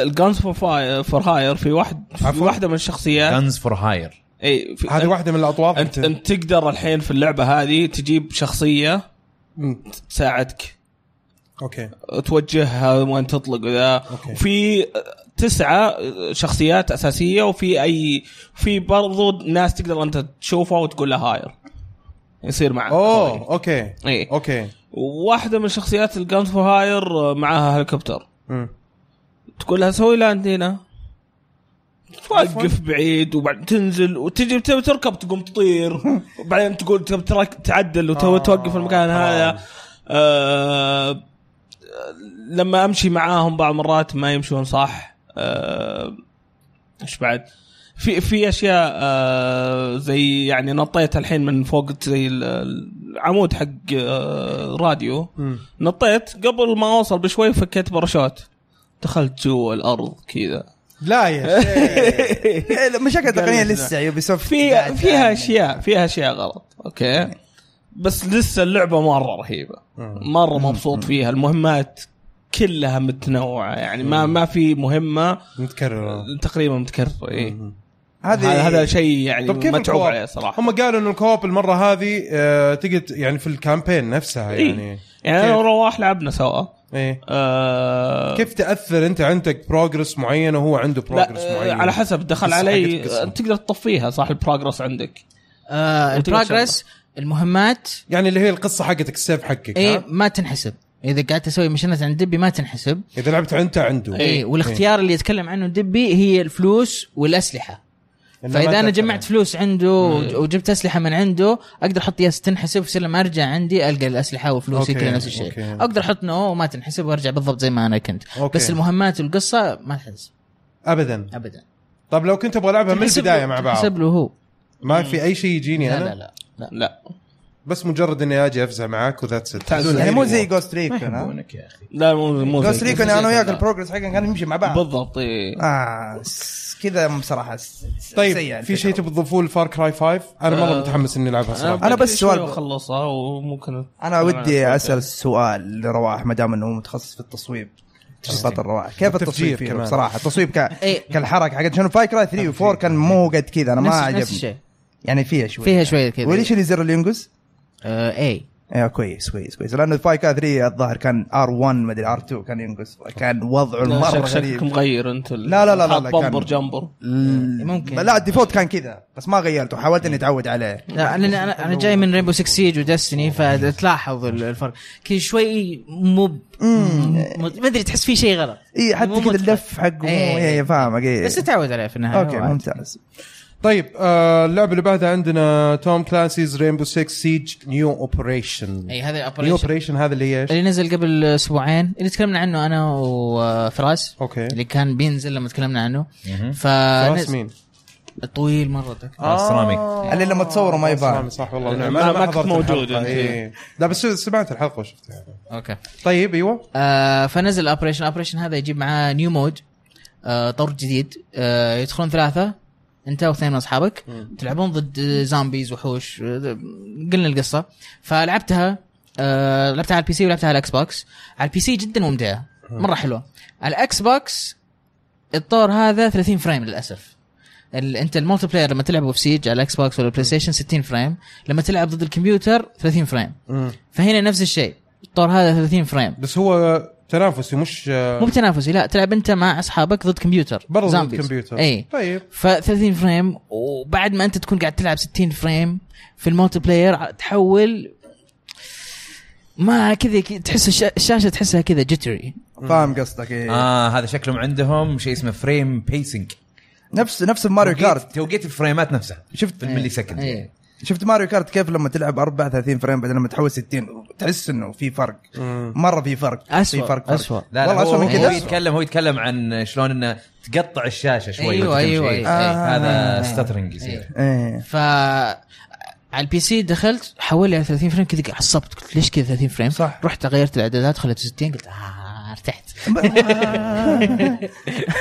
الجانز فور هاير في واحد في
عفوا.
واحده من الشخصيات
جنز فور هاير
اي في-
هذه واحده من الاطوار
انت انت تقدر الحين في اللعبه هذه تجيب شخصيه
مم.
تساعدك
اوكي
توجهها وين تطلق وذا
أوكي.
وفي تسعة شخصيات أساسية وفي أي في برضو ناس تقدر أنت تشوفها وتقول لها هاير يصير معك
اوه اوكي
إيه.
اوكي
واحدة من شخصيات الجانز فور هاير معاها هليكوبتر
مم.
تقول لها سوي لاند هنا توقف بعيد وبعد تنزل وتجي تبي تركب تقوم تطير وبعدين تقول تبي ترك- تعدل وتو-
آه،
توقف المكان هذا آه لما امشي معاهم بعض مرات ما يمشون صح آه، ايش بعد في في اشياء آه زي يعني نطيت الحين من فوق زي ال- العمود حق آه راديو
مم.
نطيت قبل ما اوصل بشوي فكيت باراشوت دخلت جوا الارض كذا
لا يا شيخ
إيه، لا، مشاكل تقنيه
قال لي
لسه يوبي سوفت
في فيها اشياء فيها اشياء غلط اوكي بس لسه اللعبه مره رهيبه مره مبسوط فيها المهمات كلها متنوعه يعني ما ما في مهمه
متكرر
تقريبا متكرره إيه.
هذه
هذا هذا شيء يعني
طب كيف
متعوب
الكواب؟
عليه صراحه
هم قالوا انه الكواب المره هذه آه، تقعد يعني في الكامبين نفسها
إيه.
يعني
يعني انا ورواح لعبنا سوا
ايه
آه
كيف تاثر انت عندك بروجرس معين وهو عنده بروجرس
لا آه،
معين
على حسب دخل
بس
علي
حقت القسم.
آه، تقدر تطفيها صح البروجرس عندك
آه
وتقدر
البروجرس المهمات
يعني اللي هي القصه حقتك السيف حقك
اي
إيه.
ايه؟
ما تنحسب اذا قاعد تسوي مشينات عند دبي ما تنحسب
اذا لعبت انت عنده
إيه.
اي إيه، والاختيار اللي يتكلم عنه دبي هي الفلوس والاسلحه
إيه. إنه ما إيه.
فاذا انا
تأثر.
جمعت فلوس عنده وج- وجبت اسلحه من عنده اقدر احط يس تنحسب يصير لما ارجع عندي القى الاسلحه وفلوسي
أوكي،
كذا نفس الشيء
أوكي.
اقدر احط نو وما تنحسب وارجع بالضبط زي ما انا كنت
أوكي.
بس المهمات والقصه ما تنحسب
ابدا
ابدا
طب لو كنت ابغى العبها من
تنحسب
البدايه
له-
مع بعض
تنحسب له هو
ما في اي شيء يجيني
إيه. لا
انا
لا لا, لا.
لا
بس مجرد اني اجي افزع معاك وذاتس ات
تعزوني.
يعني مو زي
أيوة.
جوست
ما
ريكون ها
يحبونك يا اخي
لا مو مو
جوست
زي-
ريكون انا وياك
لا.
البروجرس حقنا كان نمشي مع بعض
بالضبط إيه.
اه س- كذا بصراحه س- س- سيئة
طيب في شيء
الفكرة.
تبي تضيفوه لفار كراي 5 انا مره
آه.
متحمس اني العبها صراحه
أنا بس
بكري
سؤال-
شوي اخلصها وممكن
انا ودي
أتفرج.
اسال سؤال لرواح ما دام انه هو متخصص في التصويب تخطيط الرواح كيف التصويب
والتفجير
فيه
كمان.
بصراحه التصويب ك...
إيه.
كالحركه حقت شنو فاي كراي 3 و4 كان مو قد كذا انا ما
نفس نفس
عجبني
الشيء
يعني فيها شوي
فيها شويه كذا
وليش اللي زر اللي ينقز؟
آه اي
ايوه كويس كويس كويس لانه فاي كراي 3 الظاهر كان ار 1 ما ادري ار 2 كان ينقز كان وضعه
لا،
مره
شك- شكلك
غريب
مغير انت ال-
لا، لا، لا، لا،
حاط
لا، كان-
بمبر جمبر
ممكن.
لا الديفولت كان كذا بس ما غيرته حاولت اني اتعود عليه
لا انا انا انا جاي من ريمبو 6 سيج ودستني فتلاحظ ال- الفرق كذا شوي مو ب- مو- ما ادري تحس في شيء غلط
اي حتى
مو
كذا
متفق.
اللف حقه مو
إيه.
اي فاهمك اي
بس تتعود عليه في النهايه
اوكي
وعادي.
ممتاز
طيب آه اللعبه اللي بعدها عندنا توم كلانسيز رينبو 6 سيج نيو اوبريشن
اي هذا
نيو
الاوبريشن
اوبريشن هذا اللي هي ايش؟
اللي نزل قبل اسبوعين اللي تكلمنا عنه انا وفراس
اوكي
اللي كان بينزل لما تكلمنا عنه ف
راس مين؟
طويل مره ذاك
آه.
السرامي
اللي لما تصوره ما
صح
يبان
صح والله
ما-
ونعم.
ما
أنا
كنت
حضرت
موجود
الحلقة،
أنت.
إيه. لا بس سمعت الحلقه وشفتها يعني.
اوكي
طيب ايوه
آه فنزل الاوبريشن الاوبريشن هذا يجيب معاه نيو مود آه طور جديد آه يدخلون ثلاثه انت واثنين من اصحابك تلعبون ضد زومبيز وحوش آه، قلنا القصه فلعبتها آه لعبتها على البي سي ولعبتها على الاكس بوكس على البي سي جدا ممتعه مره حلوه على الاكس بوكس الطور هذا 30 فريم للاسف ال- انت المولتي بلاير لما تلعبه في سيج على الاكس بوكس ولا بلاي ستيشن 60 فريم لما تلعب ضد الكمبيوتر 30 فريم فهنا نفس الشيء الطور هذا 30 فريم
بس هو تنافسي مش
مو بتنافسي لا تلعب انت مع اصحابك ضد كمبيوتر
برضه ضد
زامبيز.
الكمبيوتر
اي
طيب
ف 30 فريم وبعد ما انت تكون قاعد تلعب 60 فريم في المولتي بلاير ع- تحول ما كذا ك- تحس الش- الشاشه تحسها كذا جيتري
فاهم قصدك إيه.
اه هذا شكلهم عندهم شيء اسمه فريم بيسنج
نفس نفس ماريو كارت
توقيت الفريمات نفسها
شفت
في الملي سكند
اي
شفت ماريو كارت كيف لما تلعب 34 فريم بعدين لما تحول 60 تحس انه في فرق مره في فرق
أسوأ،
في فرق فرق.
أسوأ.
لا لا
والله
هو,
اسوء من
هو
كذا
يتكلم هو يتكلم عن شلون انه تقطع الشاشه شوي
أيوة،
وتمشي.
أيوة، أيوة.
آه،
آه.
هذا ستاترنج يصير
ايه
ف على البي سي دخلت حولي على 30 فريم كذا عصبت قلت ليش كذا 30 فريم
صح.
رحت غيرت الاعدادات خليته 60 قلت آه ارتحت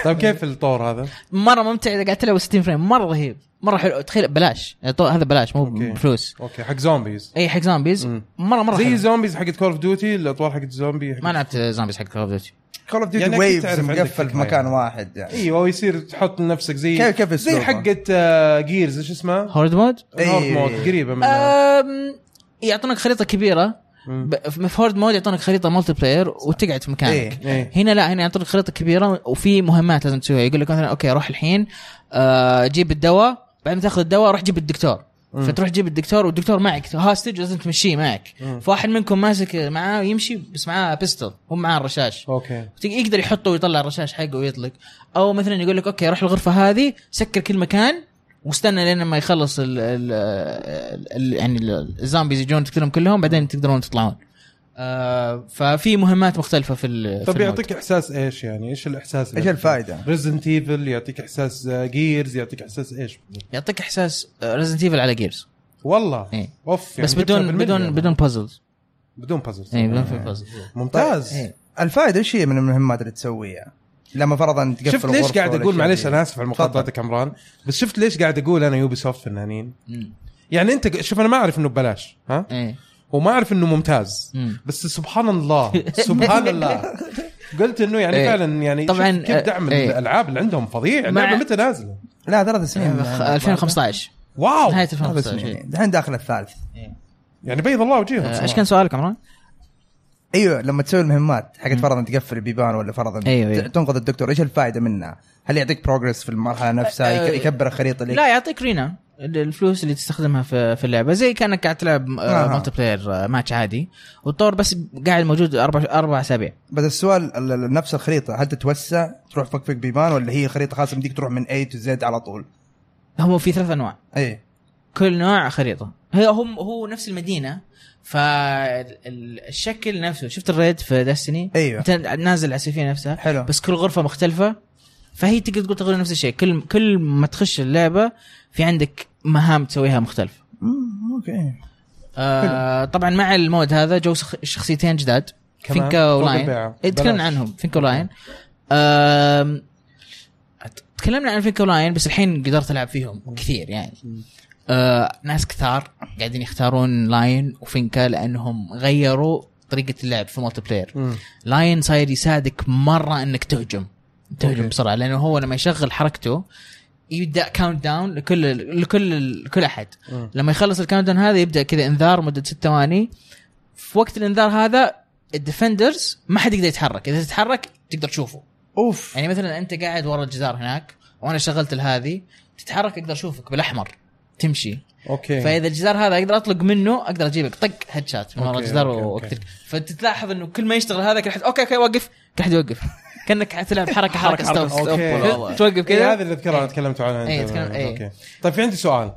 طيب كيف الطور هذا؟
مره ممتع اذا قاعد تلعب 60 فريم مره رهيب مره حلو تخيل بلاش يعني طو- هذا بلاش مو
أوكي.
بفلوس
اوكي حق زومبيز
اي حق زومبيز
مم.
مره مره
زي
حلو.
زومبيز حقت كول اوف ديوتي الاطوار حقت الزومبي حقت-
ما لعبت زومبيز حق كول اوف ديوتي
كول اوف ديوتي
يعني أكيد
ويفز
تعرف عندك
مقفل في
فكرة
مكان
يعني.
واحد يعني
ايوه ويصير تحط نفسك زي
كيف- كيف
زي
أسلوبها؟
حقت آه، جيرز ايش اسمها؟
هورد مود
هورد
إيه.
مود قريبه
آه.
منها
أم، يعطونك خريطه كبيره
مم.
ب- في في هورد مود يعطونك خريطه مالتي بلاير وتقعد في مكانك
إيه، إيه.
هنا لا هنا يعطونك خريطه كبيره وفي مهمات لازم تسويها يقول لك مثلا اوكي روح الحين آه، جيب الدواء بعد ما تاخذ الدواء روح جيب الدكتور فتروح تجيب الدكتور والدكتور معك هاستج لازم تمشيه معك فواحد منكم ماسك معاه يمشي بس معاه بيستول هو معاه الرشاش
اوكي
تق- يقدر يحطه ويطلع الرشاش حقه ويطلق او مثلا يقول لك اوكي روح الغرفه هذه سكر كل مكان واستنى لين ما يخلص ال ال ال يعني ال- الزومبيز يجون تقتلهم كلهم بعدين تقدرون تطلعون آه ففي مهمات مختلفه في ال في
طب
المود.
يعطيك احساس ايش يعني؟ ايش الاحساس
ايش الفائده؟
ريزنت ايفل يعطيك احساس جيرز يعطيك احساس ايش؟
يعطيك احساس ريزنت ايفل على جيرز
والله
إيه.
اوف
بس
جبتها
بدون
بالملي
بدون
يعني.
بدون بازلز
بدون بازل
اي بدون في بازلز
طيب،
ممتاز
إيه.
الفائده ايش هي من المهمات اللي تسويها؟ لما فرضا تقفل يعني.
شفت ليش
الغرفة
قاعد
ولا
اقول
شيء.
معليش
يعني؟
انا اسف على
تفضل.
مقاطعتك عمران بس شفت ليش قاعد اقول انا يوبي سوفت فنانين يعني انت شوف انا ما اعرف انه ببلاش ها
اي
وما اعرف انه ممتاز
مم.
بس سبحان الله سبحان الله قلت انه يعني
إيه.
فعلا يعني
طبعاً،
شوف كيف دعم
إيه.
الالعاب اللي عندهم فظيع
مع-
اللعبه متى نازله
لا ثلاث سنين
2015
واو
نهايه
ثلاث
2015
سنين الحين داخل الثالث
يعني بيض الله وجيههم
آه،
صراحة.
ايش كان سؤالك عمران؟
ايوه لما تسوي المهمات حقت فرضا تقفل البيبان ولا فرضا
أيوة، أيوة.
ت- تنقذ الدكتور ايش الفائده منها؟ هل يعطيك بروجرس في المرحله نفسها
أه،
يك- يكبر الخريطه لك؟
لا يعطيك رينا الفلوس اللي تستخدمها في في اللعبه زي كانك قاعد تلعب
آه.
مالتي بلاير ماتش عادي والطور بس قاعد موجود اربع اربع اسابيع
بس السؤال ال- ال- نفس الخريطه هل تتوسع تروح فك فك بيبان ولا هي خريطه خاصه بديك تروح من اي تو زد على طول؟ إيه.
هم في ثلاث انواع
اي
كل نوع خريطه هي هم هو نفس المدينه فالشكل نفسه شفت الريد في داستني
أيوة.
انت نازل على السفينه نفسها
حلو.
بس كل غرفه مختلفه فهي تقدر تقول تقريبا نفس الشيء كل كل ما تخش اللعبه في عندك مهام تسويها مختلفه
اوكي
آه طبعا مع المود هذا جو شخ- شخصيتين جداد
كمان؟
فينكا
فوق
ولاين
البيعة.
إيه، تكلمنا
بلاش.
عنهم فينكا ولاين آم، تكلمنا عن فينكا ولاين بس الحين قدرت العب فيهم كثير يعني آه ناس كثار قاعدين يختارون لاين وفينكا لانهم غيروا طريقه اللعب في الملتي بلاير لاين صاير يساعدك مره انك تهجم تهجم بسرعه لانه هو لما يشغل حركته يبدا كاونت داون لكل لكل لكل احد
مم.
لما يخلص الكاونت داون هذا يبدا كذا انذار مده ست ثواني في وقت الانذار هذا الديفندرز ما حد يقدر يتحرك اذا تتحرك تقدر تشوفه
اوف
يعني مثلا انت قاعد ورا الجدار هناك وانا شغلت الهذه تتحرك اقدر اشوفك بالاحمر تمشي
اوكي
فاذا الجدار هذا اقدر اطلق منه اقدر اجيبك طق هيد شات من ورا
أوكي،
الجدار
أوكي، أوكي.
واقتلك فتتلاحظ انه كل ما يشتغل هذا كل حد اوكي اوكي وقف كل حد يوقف كانك حتلعب حركه حركه ستوب
أوكي.
ستوب. توقف
إيه
كذا
هذا اللي اذكرها انا تكلمت عنها انت
إيه، تكلم- إيه.
اوكي طيب في عندي سؤال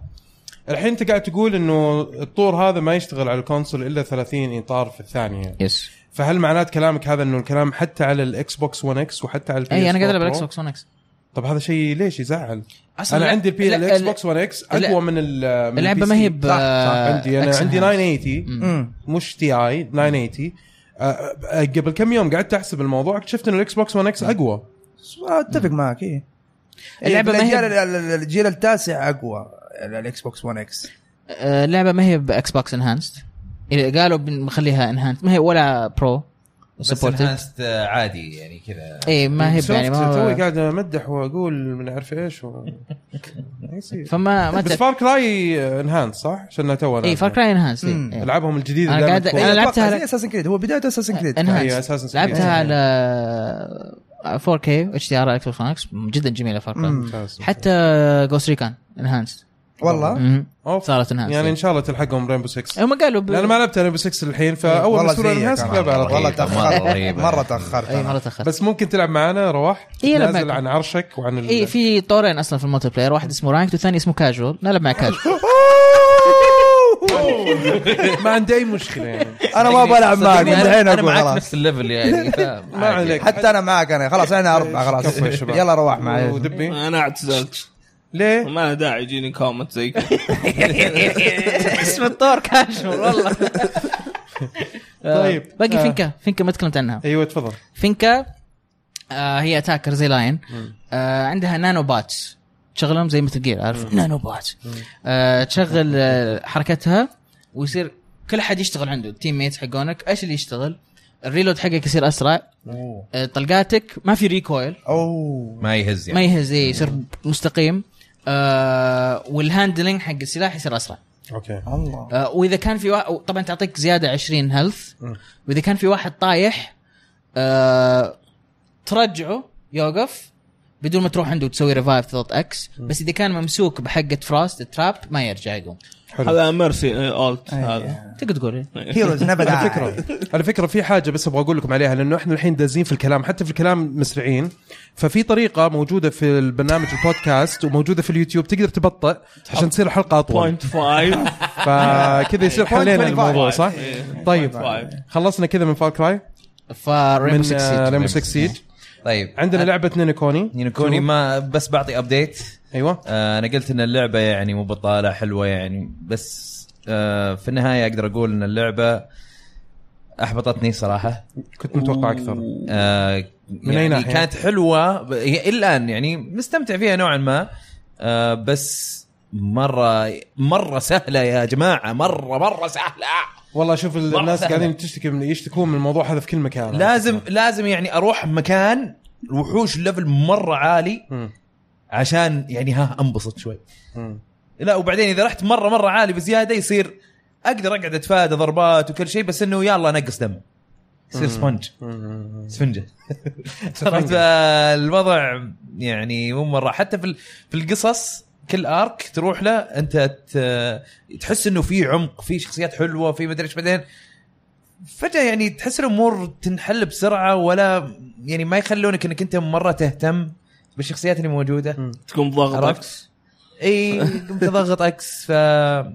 الحين انت قاعد تقول انه الطور هذا ما يشتغل على الكونسول الا 30 اطار في الثانيه
يس
فهل معنات كلامك هذا انه الكلام حتى على الاكس بوكس 1 اكس وحتى على البي
اي انا إيه، قاعد العب
على
الاكس بوكس 1 اكس
طب طيب، هذا شيء ليش يزعل؟
أصلاً
انا
لا-
عندي البي
لا-
الاكس
ال-
بوكس 1 اكس
لا-
اقوى من ال من
اللعبة
البي
ما
سي.
هي ب-
صح، صح، عندي انا
Action
عندي
Hands.
980
امم
مش تي اي 980 آه، آه، قبل كم يوم قعدت احسب الموضوع اكتشفت انه الاكس بوكس 1 اكس اقوى
اتفق معك ايه
اللعبة
اللعبه
ما هي-
الجيل الجيل التاسع اقوى الاكس بوكس 1 اكس
آه، اللعبه ما هي باكس بوكس انهانسد قالوا بنخليها انهانسد ما هي ولا برو
بس
سبورتد
enhanced، آه، عادي يعني كذا
اي ما هي يعني
يعني توي
ما
قاعد امدح واقول من عارف ايش و... ما يصير.
فما ما
بس
إيه، تعرف
فار كراي انهانس صح؟ عشان تو
اي فار كراي انهانسد
مم.
العابهم الجديده
أنا
دائماً
قاعد-
تكون-
أنا لعبتها على-
اساسن كريد هو بدايه اساسن كريد
أيوة،
انهانسد
اساسا
لعبتها على 4K اتش دي ار الكترونكس جدا جميله فار كراي
ممتاز.
حتى جوست ريكان انهانسد
والله
أوف.
صارت انهانسد
يعني ان شاء الله تلحقهم رينبو 6
هم قالوا ب...
لان ما لعبت رينبو 6 للحين فاول ما
والله
يصير
زيك
انهانس
أنا.
بلعبها على طول.
غريبة،
والله
مرة
تاخرت
غريبة.
مره تاخرت
اي
أنا.
مره تاخرت
بس ممكن تلعب معانا رواح
إيه، ألعب
نازل
معكم.
عن عرشك وعن ال...
اي إيه، في طورين اصلا في الملتي بلاير واحد اسمه رانكد والثاني اسمه كاجوال نلعب مع كاجوال
ما عندي اي مشكله يعني
انا ما
أيوة.
بلعب معك
صدقني،
من
أنا-
الحين
انا
اقول
معك
خلاص
نفس الليفل يعني
ما عليك
حتى انا معك انا خلاص انا اربعه خلاص
كفو يا شباب.
يلا روح
أه.
معي
ودبي
انا اعتزلت
ليه؟
ما له داعي يجيني كومنت زي كذا
اسم الطور كاجوال والله
طيب.
أه، باقي
آه.
فينكا فينكا ما تكلمت عنها
ايوه تفضل
فينكا آه هي اتاكر زي لاين آه عندها نانو باتس تشغلهم زي مثل جير عارف نانو باتس آه تشغل آه حركتها ويصير كل حد يشتغل عنده التيم ميت حقونك ايش اللي يشتغل الريلود حقك يصير اسرع آه طلقاتك ما في ريكويل
اوه
ما يهز
ما
يعني
يهز إيه، يصير مستقيم آه والهاندلنج حق السلاح يصير اسرع
اوكي
الله
آه، واذا كان في وا... طبعا تعطيك زياده 20 هيلث واذا كان في واحد طايح آه... ترجعه يوقف بدون ما تروح عنده وتسوي ريفايف تضغط اكس بس اذا كان ممسوك بحقه فراست تراب ما يرجع يقوم
هذا ميرسي اولت هذا
تقدر تقول إيه.
هيروز نبدا
على فكره على فكره في حاجه بس ابغى اقول لكم عليها لانه احنا الحين دازين في الكلام حتى في الكلام مسرعين ففي طريقه موجوده في البرنامج البودكاست وموجوده في اليوتيوب تقدر تبطئ عشان تصير الحلقه اطول
0.5
فكذا يصير حلينا
0.25.
الموضوع صح؟
إيه.
طيب
0.5.
خلصنا كذا من فار كراي من آه،
فريمبو 6
آه،
سيج.
ريمو 6 سيج
طيب
عندنا لعبه نينيكوني
نينكوني ما بس بعطي ابديت
ايوه
آه، انا قلت ان اللعبه يعني مو بطاله حلوه يعني بس آه، في النهايه اقدر اقول ان اللعبه احبطتني صراحه
كنت متوقع اكثر
آه،
أي
يعني
ناحية؟
كانت حلوه ب- هي الان يعني مستمتع فيها نوعا ما آه، بس مره مره سهله يا جماعه مره مره سهله
والله شوف الناس
سهلة.
قاعدين تشتكي من يشتكون من الموضوع هذا في كل مكان
لازم
آه.
لازم يعني اروح مكان وحوش ليفل مره عالي
مم.
عشان يعني ها انبسط شوي
مم.
لا وبعدين اذا رحت مره مره عالي بزياده يصير اقدر اقعد اتفادى ضربات وكل شيء بس انه يلا نقص دم يصير سبونج
مم.
سفنجه عرفت الوضع يعني مو مره حتى في ال- في القصص كل ارك تروح له انت ت- تحس انه في عمق في شخصيات حلوه في مدري ايش بعدين فجاه يعني تحس الامور تنحل بسرعه ولا يعني ما يخلونك انك انت مره تهتم بالشخصيات اللي موجوده
تقوم ضغطك
عرفت؟ اي قمت اضغط اكس ف آه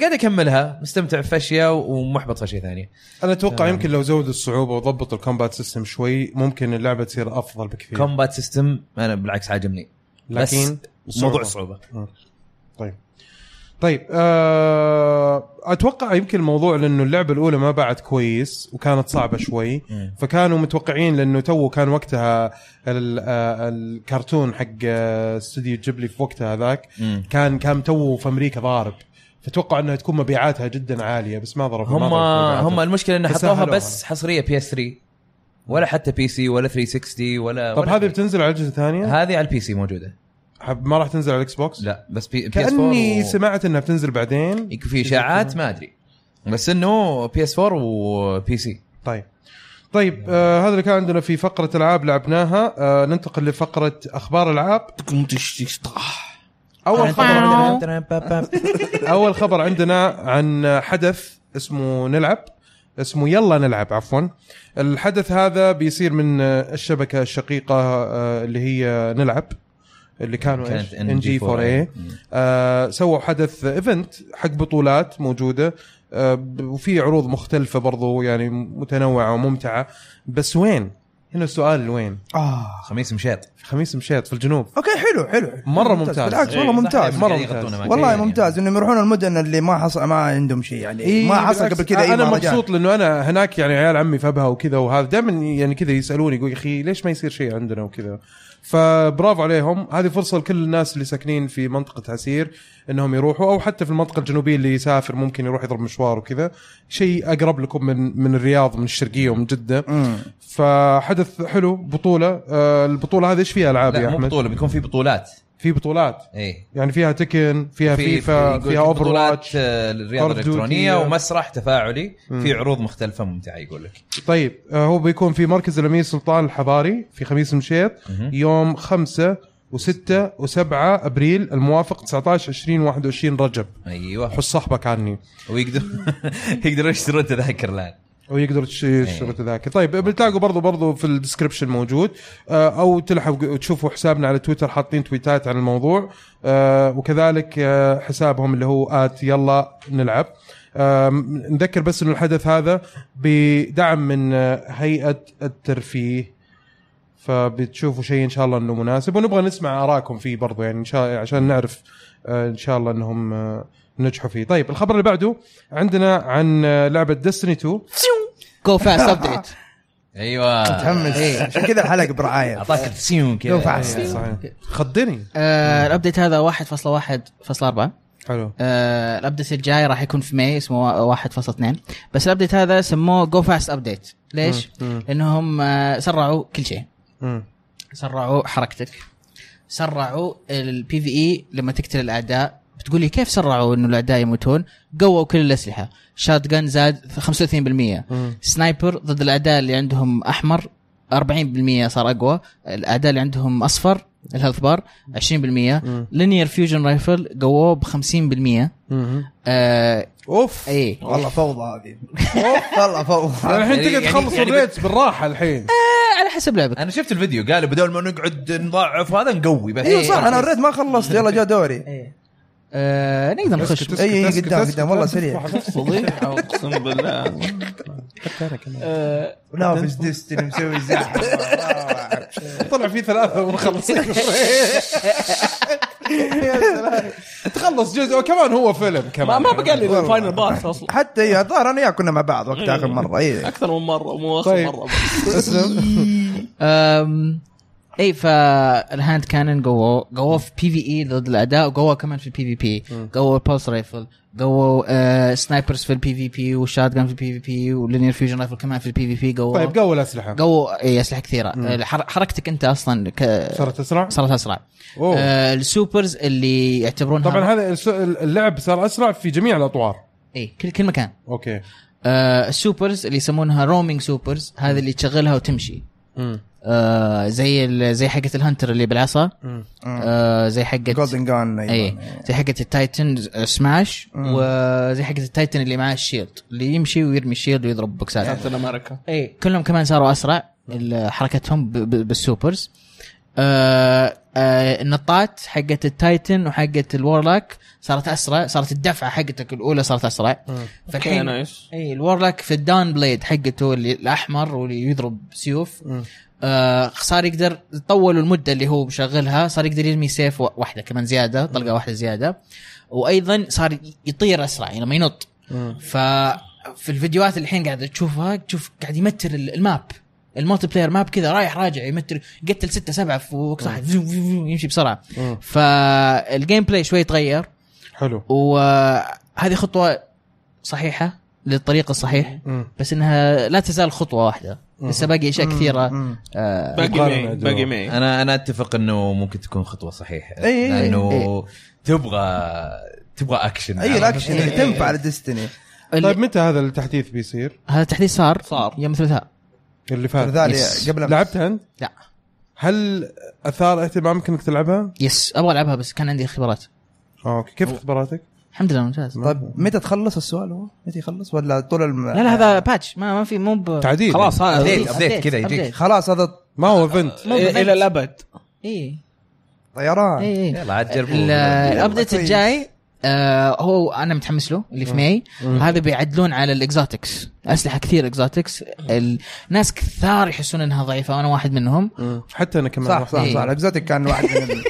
قاعد اكملها مستمتع في اشياء ومحبط في اشياء ثانيه
انا اتوقع
تمام.
يمكن لو زودوا الصعوبه وضبطوا الكومبات سيستم شوي ممكن اللعبه تصير افضل بكثير
كومبات سيستم انا بالعكس عاجبني
إيه. لكن
بس موضوع صعوبه
طيب طيب أه اتوقع يمكن الموضوع لانه اللعبه الاولى ما باعت كويس وكانت صعبه شوي
مم.
فكانوا متوقعين لانه تو كان وقتها ال- آه، الكرتون حق آه، استوديو جيبلي في وقتها هذاك
مم.
كان كان تو في امريكا ضارب فتوقعوا انها تكون مبيعاتها جدا عاليه بس ما ضربوا ما
هم
ضربوا
هم
مبيعاتها.
المشكله ان حطوها
فسهلوها.
بس حصريه بي اس 3 ولا حتى بي سي ولا 360 ولا
طب
ولا
هذه
شيء.
بتنزل على اجهزه ثانيه؟
هذه على البي سي موجوده
حب- ما راح تنزل على الاكس بوكس؟
لا بس بي بي اس 4
كاني
و...
سمعت انها بتنزل بعدين
يكون في اشاعات ما ادري بس انه بي اس 4 وبي سي
طيب طيب آه هذا اللي كان عندنا في فقره العاب لعبناها آه ننتقل لفقره اخبار العاب
يعني
اول خبر عندنا اول خبر عندنا عن حدث اسمه نلعب اسمه يلا نلعب عفوا الحدث هذا بيصير من آه، الشبكه الشقيقه آه، اللي هي نلعب اللي كانوا
كانت
ان جي 4
NG4A.
اي آه، سووا حدث ايفنت حق بطولات موجوده آه، ب- وفي عروض مختلفه برضو يعني متنوعه وممتعه بس وين؟ هنا السؤال وين؟
اه
خميس مشيط
خميس مشيط في الجنوب
اوكي حلو حلو
مرة ممتاز.
بالعكس والله
إيه،
ممتاز
صح،
مرة
قاعد يغطونا
ممتاز. إيه.
مع
والله
كذا
ممتاز انهم يروحون المدن اللي ما حصل ما عندهم شيء يعني إيه ما حصل
بالعكس.
قبل كذا اي
انا
مهرجان.
مبسوط لانه انا هناك يعني عيال عمي فبها وكذا وهذا دائما يعني كذا يسالوني يقول يا اخي ليش ما يصير شيء عندنا وكذا فبرافو عليهم هذه فرصه لكل الناس اللي ساكنين في منطقه عسير انهم يروحوا او حتى في المنطقه الجنوبيه اللي يسافر ممكن يروح يضرب مشوار وكذا شيء اقرب لكم من من الرياض من الشرقيه ومن جده
مم.
فحدث حلو بطوله آه، البطوله هذه ايش فيها العاب يا
لا مو
احمد
بطوله بيكون في بطولات إيه.
في بطولات
اي
يعني فيها تكن فيها فيفا فيها اوفر واتش
الرياضه
Call of Duty.
الالكترونيه آه، ومسرح تفاعلي
مم.
في عروض مختلفه ممتعه يقول لك
طيب آه، هو بيكون في مركز الامير سلطان الحضاري في خميس مشيط
مهم.
يوم 5 و6 و7 ابريل الموافق 19 20 21 رجب
ايوه
حس صاحبك عني
ويقدر يقدروا يشترون تذاكر الان
ويقدر تشتري تذاكر طيب بتلاقوا برضو برضو في الديسكربشن موجود آه، او تلحقوا تشوفوا حسابنا على تويتر حاطين تويتات عن الموضوع آه، وكذلك آه، حسابهم اللي هو آت يلا نلعب آم، نذكر بس انه الحدث هذا بدعم من آه، هيئه الترفيه فبتشوفوا شيء ان شاء الله انه مناسب ونبغى نسمع ارائكم فيه برضو يعني ان شاء عشان نعرف آه، ان شاء الله انهم آه، نجحوا فيه طيب الخبر اللي بعده عندنا عن آه، لعبه ديستني 2
جو فاست ابديت
ايوه
إيه.
متحمس عشان كذا الحلقه برعايه
اعطاك السيون
لو
كذا
فعس
صحيح. خضني
الابديت آه، هذا 1.1.4
حلو
آه، الابديت الجاي راح يكون في ماي اسمه 1.2 بس الابديت هذا سموه جو فاست ابديت ليش؟
مم.
لانهم آه، سرعوا كل شيء
مم.
سرعوا حركتك سرعوا البي في اي E لما تقتل الاعداء بتقول لي كيف سرعوا انه الاعداء يموتون؟ قووا كل الاسلحه، شات جن زاد 35%، سنايبر ضد الاعداء اللي عندهم احمر 40% صار اقوى، الاعداء اللي عندهم اصفر الهيلث بار 20%، لينير فيوجن رايفل قووه ب 50%،
مم.
آه
اوف
اي
والله فوضى هذه أوف، والله فوضى
الحين
يعني-
تقدر تخلص
يعني-
الريتس بالراحه الحين
على حسب لعبك
انا شفت الفيديو قالوا بدل ما نقعد نضاعف هذا نقوي بس
إيه،
ايوه صح انا الريت ما خلصت يلا جاء دوري
آه نقدر نخش
اسكت، اسكت،
اي
اسكت،
اي قدام
اسكت،
قدام والله
اسكت.
سريع
فضيحه اقسم بالله
لا في ديستني مسوي زحمه
طلع في ثلاثه ونخلص يا سلام. تخلص جزء كمان هو فيلم
ما
كمان
ما بقى لي فاينل باس اصلا
حتى اي الظاهر انا وياك كنا مع بعض وقت إيه. اخر مره اي
اكثر من مره مو اخر
طيب.
مره
أم، اي فالهاند كانن قووا قووا في بي في اي E ضد الاعداء وقووا كمان في البي في بي قووا البولس رايفل قووا آه، سنايبرز في البي في بي والشات جان في البي في بي واللينير فيوجن رايفل كمان في البي في بي قووا
طيب قوي الاسلحه
قووا اي اسلحه كثيره الحر- آه، حركتك انت اصلا ك-
صارت اسرع
صارت اسرع
أوه.
آه، السوبرز اللي يعتبرونها
طبعا هذا الس- اللعب صار اسرع في جميع الاطوار
اي إيه، كل كل مكان
اوكي
آه، السوبرز اللي يسمونها رومينج سوبرز هذه اللي تشغلها وتمشي
مم.
آه زي ال- زي حقه الهنتر اللي بالعصا
مم.
آه زي حقه
جولدن جان
اي زي حقه التايتن آه، سماش وزي حقه التايتن اللي معاه الشيلد اللي يمشي ويرمي الشيلد ويضرب بوكسات
كابتن امريكا
اي كلهم كمان صاروا اسرع ال- حركتهم ب- ب- بالسوبرز آه آه النطات حقت التايتن وحقه الورلاك صارت اسرع صارت الدفعه حقتك الاولى صارت اسرع
اوكي
فالحين
نايس
اي الورلاك في الداون بليد حقته اللي الاحمر واللي يضرب سيوف آه صار يقدر طولوا المده اللي هو مشغلها صار يقدر يرمي سيف و- واحده كمان زياده طلقه واحده زياده وايضا صار يطير اسرع يعني لما ينط ف في الفيديوهات الحين قاعد تشوفها تشوف قاعد يمتر ال- الماب المالتي بلاير ماب كذا رايح راجع يمتر قتل ستة سبعة في وقت واحد زوم زوم زوم يمشي بسرعه
مم.
فالجيم بلاي شوي تغير
حلو
وهذه خطوه صحيحه للطريق الصحيح
مم.
بس انها لا تزال خطوه واحده لسه باقي اشياء كثيره
مم.
آه،
باقي
مقارنة
معي
أدوار.
باقي معي
انا انا اتفق انه ممكن تكون خطوه صحيحه
أي- أي-
لانه
أي.
تبغى تبغى اكشن
اي الاكشن
إيه،
اللي
إيه،
تنفع على ديستني
اللي-
طيب متى هذا التحديث بيصير؟
هذا التحديث صار
صار.
يوم الثلاثاء
اللي فات
ثالث
يس.
قبل أمس.
لعبتها انت؟
لا
هل اثار اهتمامك انك تلعبها؟
يس ابغى العبها بس كان عندي خبرات
آه، اوكي كيف اختباراتك؟
الحمد لله ممتاز
طيب متى تخلص السؤال هو؟ متى يخلص ولا طول الم...
لا لا هذا باتش ما ما في مو ب
تعديل
خلاص هذا
أبديت، أبديت كذا يجيك.
أبديت.
خلاص هذا
ما هو ايفنت
مو إيه. بالضبط.
الى الابد
اي
طيران
اي
يلا عاد جربوا.
ال-
يلا.
الابديت
كويس.
الجاي آه هو انا متحمس له اللي في ماي هذا بيعدلون على الاكزوتكس اسلحه كثير اكزوتكس الناس كثار يحسون انها ضعيفه وانا واحد منهم
مم. حتى انا كمان
صح صح
إيه.
صح الاكزوتيك كان واحد من ال...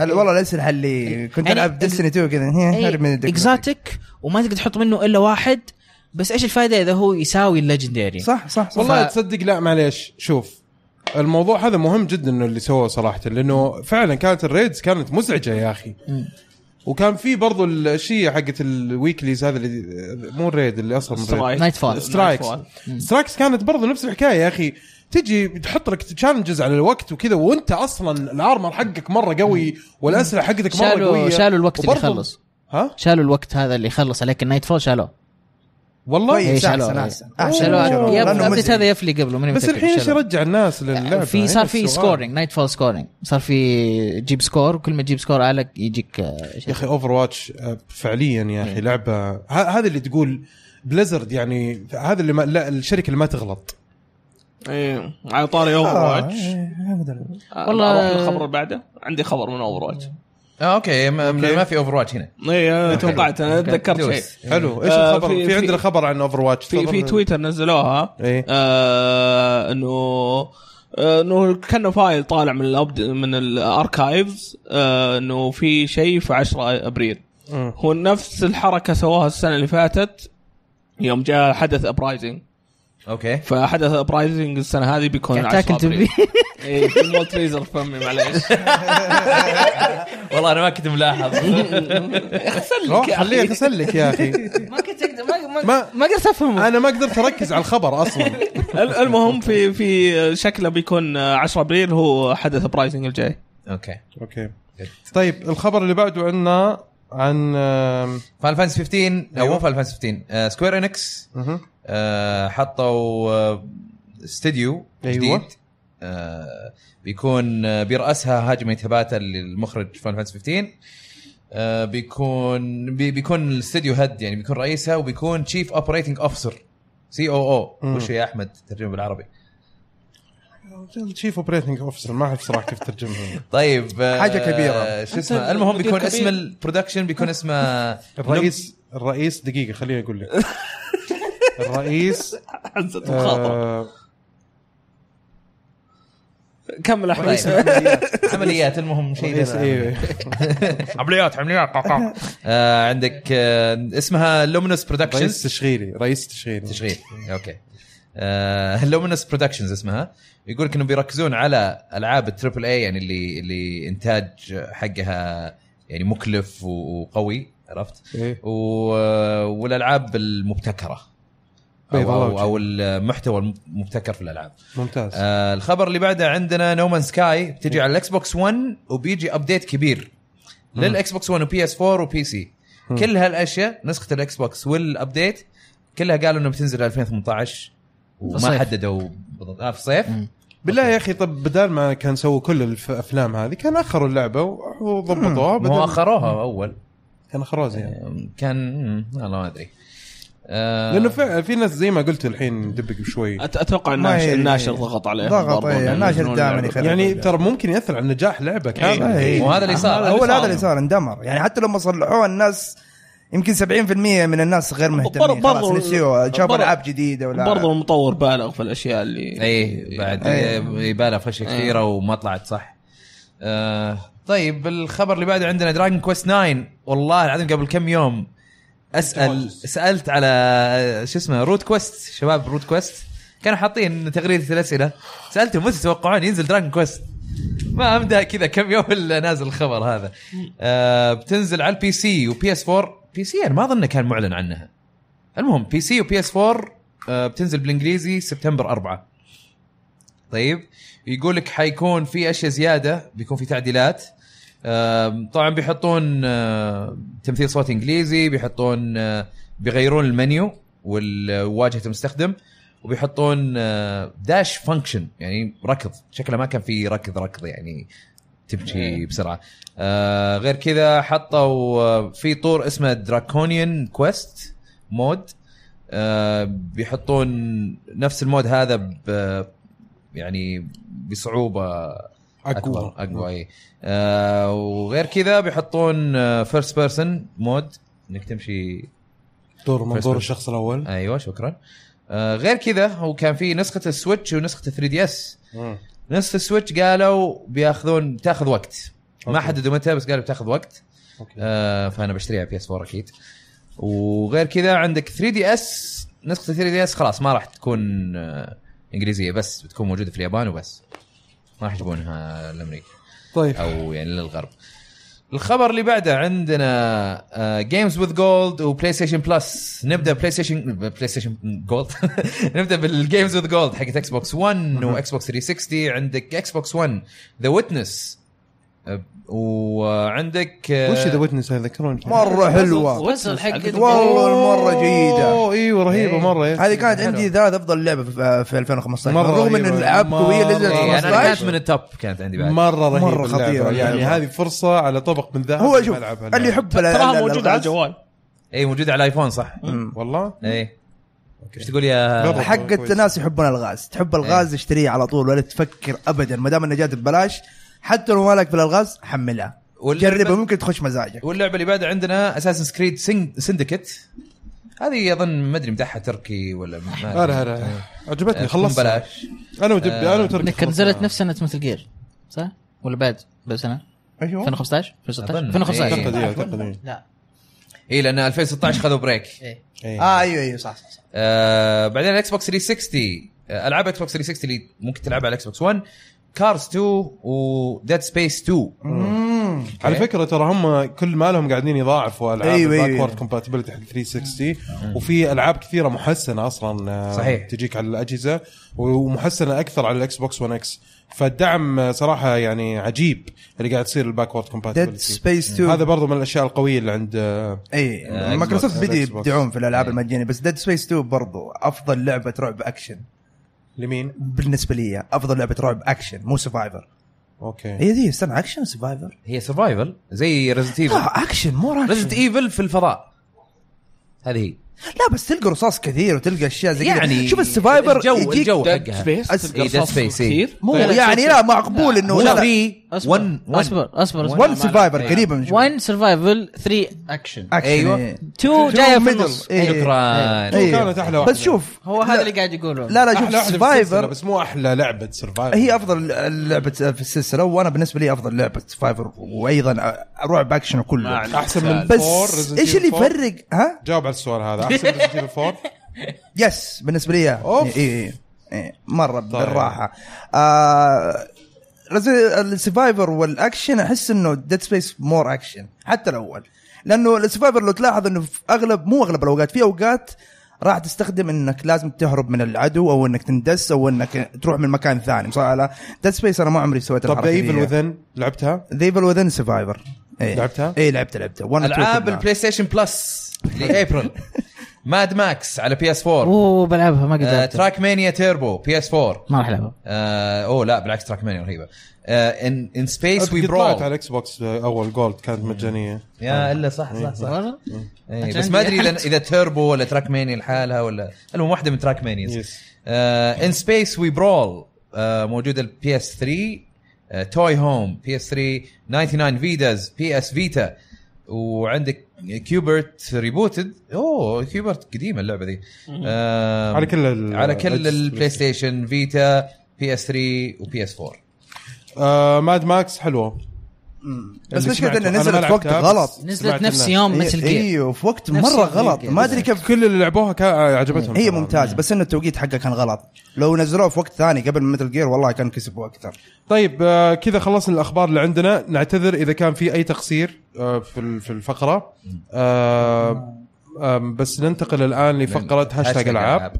ال- والله الاسلحه اللي كنت
يعني إيه.
العب ديستني 2 كذا هي هرب من الدكتور.
اكزوتيك وما تقدر تحط منه الا واحد بس ايش الفائده اذا هو يساوي الليجندري
صح صح صح
والله
ف-
تصدق لا معليش شوف الموضوع هذا مهم جدا انه اللي سووه صراحه لانه فعلا كانت الريدز كانت مزعجه يا اخي
مم.
وكان في برضو الشيء حقت الويكليز هذا اللي مو الريد اللي اصلا من الريد.
نايت فول
سترايكس
Nightfall.
سترايكس كانت برضو نفس الحكايه يا اخي تجي تحط لك تشالنجز على الوقت وكذا وانت اصلا الارمر حقك مره قوي والاسلحه حقتك مره
شالوا
قويه
شالوا الوقت اللي
وبرضو-
يخلص
ها
شالوا الوقت هذا اللي يخلص عليك النايت فول شالوه
والله
إيه،
كويس
شالوه.
احسن احسن
إيه.
احسن
شالوه.
شالوه.
يا
لأنه
الابديت
مزعج.
هذا يفلي قبله ماني
بس
متأكد
الحين ايش
شالوه.
يرجع الناس للعبه
في
هنا
صار في
السؤال.
سكورينج نايت فول سكورينج صار في تجيب سكور وكل ما تجيب سكور اعلى يجيك آه،
يا اخي اوفر واتش فعليا يا
إيه.
اخي لعبه ه- هذا اللي تقول بليزرد يعني هذا اللي ما لا الشركه اللي ما تغلط
إيه. على طاري اوفر
آه،
واتش
إيه، أقدر.
والله-
والله اروح للخبر اللي بعده عندي خبر من اوفر واتش
اه اوكي ما, ما في اوفر واتش هنا
اي إيه، توقعت انا تذكرت شيء
دوس.
حلو ايش
آه،
الخبر في,
في-
في
في-
عندنا خبر عن اوفر واتش
في في تويتر نزلوها
إيه.
آه انه آه، انه كان فايل طالع من الأبد من الاركايفز آه انه في شيء في 10 ابريل
مم.
هو نفس الحركه سواها السنه اللي فاتت يوم جاء حدث ابرايزنج
اوكي
فحدث ابرايزنج السنه هذه بيكون
قاعد
10
يعني تاكل
ابريل
تبي
اي في مولت ريزر في فمي معليش
والله انا ما كنت ملاحظ
روح خليه يغسل لك يا اخي
ما كنت أقدر- ما- ما
ما-
ما قدرت افهمه
انا ما قدرت اركز على الخبر اصلا
المهم في في شكله بيكون 10 ابريل هو حدث ابرايزنج الجاي
اوكي
اوكي طيب الخبر اللي بعده عندنا عن آم،
فان فانس 15 او مو
أيوة.
فان فانس 15 آه، سكوير انكس
مهم.
آه، حطوا آه، استديو
أيوة.
جديد آه، بيكون آه، بيرأسها هاجمي تباتا المخرج فان فانس 15 آه، بيكون بي- بيكون الاستديو هيد يعني بيكون رئيسها وبيكون تشيف اوبريتنج اوفيسر سي او او
مم.
وش يا احمد ترجمه بالعربي
الشيف اوبريتنج اوفيسر ما اعرف صراحه كيف ترجمها
طيب آه،
حاجة كبيرة.
شو اسمه المهم
مدير
بيكون
كبير.
اسم البرودكشن بيكون اسمه
الرئيس الرئيس دقيقه خليني اقول لك الرئيس
حزة المخاطره
آه،
كمل احمد
رئيس العمليات عمليات المهم شيء
رئيس
كذا.
ايه
عمليات عمليات قا- قا. آه، عندك آه، اسمها لومينوس
رئيس
برودكشنز
تشغيلي رئيس تشغيلي
تشغيل اوكي لومينوس برودكشنز اسمها يقول لك انهم بيركزون على العاب التربل اي يعني اللي اللي انتاج حقها يعني مكلف و- وقوي عرفت
إيه.
و... والالعاب المبتكره
بيض
او,
الله
أو,
وجهك.
أو المحتوى المبتكر في الالعاب
ممتاز
آه الخبر اللي بعده عندنا نومان سكاي بتجي على الاكس بوكس 1 وبيجي ابديت كبير للاكس بوكس 1 وبي اس 4 وبي سي كل هالاشياء نسخه الاكس بوكس والابديت كلها قالوا انه بتنزل 2018 وما
الصيف.
حددوا بالضبط آه في الصيف
مم.
بالله يا اخي طب بدال ما كان سووا كل الافلام هذه كان اخروا اللعبه و- وضبطوها بدل-
مو اخروها اول
كان اخروها زين
آه، كان مم، والله ما ادري آه
لانه فعلا في ناس زي ما قلت الحين دبق شوي
أت-
ما
اتوقع الناشر
هي-
الناشر ضغط عليه
ضغط إيه، الناشر دائما يخرب
يعني
اللعبة.
ترى ممكن ياثر على نجاح لعبه كامله
إيه.
وهذا اللي صار. آه،
هو
هذا اللي
هذا اللي صار اندمر يعني حتى لما صلحوه الناس يمكن 70% من الناس غير مهتمين
برضو-
خلاص نسيوا شافوا
برضو-
العاب جديده ولا
برضه المطور بالغ في الاشياء اللي
ايه بعد
إيه.
يبالغ في اشياء كثيره وما طلعت صح آه طيب الخبر اللي بعده عندنا دراجون كويست 9 والله العظيم قبل كم يوم اسال سالت على شو اسمه روت كويست شباب روت كويست كانوا حاطين تغريده الاسئله سالتهم متى تتوقعون ينزل دراجون كويست ما امدها كذا كم يوم الا نازل الخبر هذا آه بتنزل على البي سي وبي اس 4 بي سي انا ما اظن كان معلن عنها المهم بي سي وبي اس 4 آه بتنزل بالانجليزي سبتمبر 4 طيب يقول لك حيكون في اشياء زياده بيكون في تعديلات آم، طبعا بيحطون آه، تمثيل صوت انجليزي بيحطون آه، بيغيرون المنيو والواجهه المستخدم وبيحطون داش فانكشن يعني ركض شكله ما كان في ركض ركض يعني تمشي بسرعه آه، غير كذا حطوا آه، في طور اسمه دراكونيان كويست مود آه، بيحطون نفس المود هذا ب يعني بصعوبه اكبر اقوى اي إيه. آه وغير كذا بيحطون فيرست بيرسون مود انك تمشي
دور منظور
First
الشخص الاول
ايوه شكرا آه غير كذا هو كان في نسخه السويتش ونسخه 3 دي اس نسخه السويتش قالوا بياخذون بتاخذ وقت ما
أوكي.
حددوا متى بس قالوا بتاخذ وقت
أوكي.
آه فانا بشتريها بي اس 4 اكيد وغير كذا عندك 3 دي اس نسخه 3 دي اس خلاص ما راح تكون آه انجليزيه بس بتكون موجوده في اليابان وبس ما راح يجيبونها لامريكا
طيب
او يعني للغرب الخبر اللي بعده آه، عندنا جيمز وذ جولد وبلاي ستيشن بلس نبدا بلاي ستيشن بلاي ستيشن جولد نبدا بالجيمز وذ جولد حقت اكس بوكس 1 واكس بوكس 360 عندك اكس بوكس 1 ذا ويتنس آه، وعندك آه،
وش ذا ويتنس هذا ذكروني
مره حلوه
وصل حق
والله مره جيده
اوه ايوه رهيبه
إيه.
مره يا
هذه كانت
حلوة.
عندي ثالث افضل لعبه في في 2015
مرة
رغم ان
رهيبة.
الالعاب قويه
مرة. يعني
نزلت
إيه، انا كانت
15
من التوب كانت عندي بعد
مره رهيبه
مرة
اللعبة.
خطيرة.
يعني هذه فرصه على طبق من ذهب
هو
إني
شوف
ألعبها
اللي
الآن.
يحب
تراها موجوده على الجوال
اي موجوده إيه، على الايفون صح
الجوال
والله
اي ايش تقول يا
بالضبط.
حقت
كويس. إيه.
ناس يحبون الغاز تحب الغاز اشتريه على طول ولا تفكر ابدا ما دام انها جات ببلاش حتى لو مالك في الالغاز حملها
واللعبة-
جربها ممكن تخش مزاجك
واللعبه اللي بعد عندنا اساسن سكريد سندكت هذه اظن ما ادري مدحها تركي ولا ما
لا لا لا
آه،
عجبتني خلصت
بلاش
انا ودب
آه،
انا وتركي
انك
خلصنا.
نزلت نفس سنه مثل جير صح؟ ولا بعد بس انا
أيوه.
ايوه
2015 2016
أظن.
2015
أعتقد إيه،
لا،
أعتقد إيه.
لا
اي لان 2016 خذوا بريك
إيه.
إيه.
اه ايوه ايوه صح صح, صح.
آه بعدين الاكس بوكس 360 آه، العاب اكس بوكس 360 اللي ممكن تلعبها على الاكس بوكس 1 كارز 2 وديد سبيس 2
مم.
على فكره ترى هم كل مالهم قاعدين يضاعفوا العاب
أيوة، أيوة.
الباكورد كومباتبلتي حق 360 وفي العاب كثيره محسنه اصلا آه،
صحيح.
تجيك على الاجهزه ومحسنه اكثر على الاكس بوكس 1 اكس فالدعم آه، صراحه يعني عجيب اللي قاعد يصير الباكورد
ديد
كومباتبلتي
سبيس 2
إيه. هذا برضو من الاشياء القويه اللي عند آه، إيه.
اي
آه،
إيه، مايكروسوفت
إكس بوكس.
بدي
إكس بوكس.
يبدعون في الالعاب المجانيه بس ديد سبيس 2 برضو افضل لعبه رعب اكشن
لمين
بالنسبه لي إياه. افضل لعبه رعب اكشن مو سرفايفر
اوكي
هي دي استنى اكشن سرفايفر
هي سرفايفل زي ريزنت ايفل
لا اكشن مو اكشن
ريزنت ايفل في الفضاء هذه هي
لا بس تلقى رصاص كثير وتلقى اشياء زي كذا.
يعني
شوف السرفايفر
الجو-
يجيك
الجو.
ديد
حقها.
سبيس
أس-
إيه، Dead Space، إيه.
مو يعني لا معقبول انه
مو
لا لا
3
اصبر اصبر اصبر
ون سرفايفر قريبه من شوي.
1 سرفايفل 3 اكشن
اكشن
أيوة.
إيه.
2 جايه في
middle.
النص
إيه.
شكرا
إيه.
كانت أحلى واحدة.
بس شوف
هو هذا اللي قاعد يقوله
لا لا
احلى
شوف
واحده في السلسلة،
سرفايفر
بس مو احلى لعبه سرفايفر
هي افضل لعبه في السلسله وانا بالنسبه لي افضل لعبه سرفايفر وايضا رعب اكشن كله
احسن من
بس
4
ايش اللي يفرق ها
جاوب على السؤال هذا احسن ريزنت ايفل 4
يس بالنسبه لي
أوف. طيب.
اوف اي اي إيه. مره بالراحه آه السرفايفر والاكشن احس انه ديد سبيس مور اكشن حتى الاول لانه السرفايفر لو تلاحظ انه في اغلب مو اغلب الاوقات في اوقات راح تستخدم انك لازم تهرب من العدو او انك تندس او انك تروح من مكان ثاني صح لا ديد سبيس انا ما عمري سويت
طب ذا ايفل
الحركه
وذن لعبتها؟
ذا ايفل وذن سرفايفر
لعبتها؟
اي إيه. لعبتها لعبتها One and two
العاب
كلها.
البلاي ستيشن بلس لابريل ماد ماكس على بي اس 4
اوه بلعبها ما
آه،
قدرت
تراك مانيا تيربو بي اس 4
ما راح العبها
آه، اوه لا بالعكس تراك مانيا رهيبه آه، ان ان سبيس وي
قد طلعت على
برول
الاكس بوكس اول جولد كانت مجانيه
يا الا صح صح صح
والله؟
إيه،
عشان
بس ما ادري
عندي
اذا اذا تيربو ولا تراك مانيا لحالها ولا المهم واحده من تراك آه، مانيز
Yes.
ان سبيس وي برول موجوده البي اس 3 توي هوم بي اس 3 99 فيداز بي اس فيتا وعندك كيوبرت ريبوتد اوه كيوبرت قديمه اللعبه ذي آه،
على كل ال-
على كل
الأجهزة.
البلاي ستيشن فيتا بي اس 3 وبي اس 4
آه ماد ماكس حلوه اللي
بس مشكلة
سمعته.
انه
أنا ما
نزلت في وقت
لعبتها،
غلط
بس سمعت
نزلت نفس
إنها-
يوم مثل
إيه-
جير
ايوه في وقت
نفس
مره
Metal Gear
غلط ما ادري كيف
كل اللي لعبوها كان عجبتهم
هي
صراحة.
ممتاز بس انه التوقيت حقه كان غلط لو نزلوه في وقت ثاني قبل متل جير والله كان كسبوا اكثر
طيب آه، كذا خلصنا الاخبار اللي عندنا نعتذر اذا كان في اي تقصير آه، في ال- في الفقره آه، آم، بس ننتقل الان لفقره هاشتاج العاب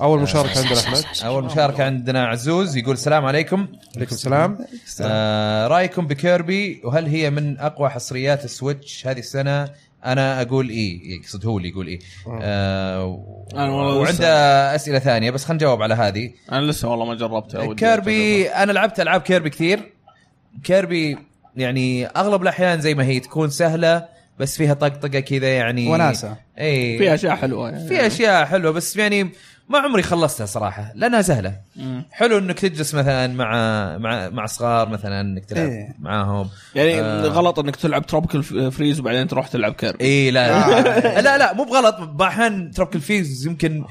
اول مشاركه عندنا احمد
اول مشاركه عندنا عزوز يقول السلام عليكم
عليكم السلام
آه رايكم بكيربي وهل هي من اقوى حصريات السويتش هذه السنه انا اقول اي يقصد إيه، هو اللي يقول اي آه و-
أنا والله
وعنده اسئله ثانيه بس خلينا نجاوب على هذه
انا لسه والله ما جربتها ودي
كيربي انا لعبت العاب كيربي كثير كيربي يعني اغلب الاحيان زي ما هي تكون سهله بس فيها طقطقه كذا يعني إيه.
وناسة.
اي
أجربها. فيها اشياء حلوه يعني.
في اشياء حلوه بس يعني ما عمري خلصتها صراحه لانها سهله
مم.
حلو انك تجلس مثلا مع مع مع صغار مثلا انك تلعب
إيه.
معاهم
يعني
آه. إيه،
غلط انك تلعب تروبيكال فريز وبعدين تروح تلعب كيربي
اي لا لا لا مو بغلط باحيان تروبيكال فيز يمكن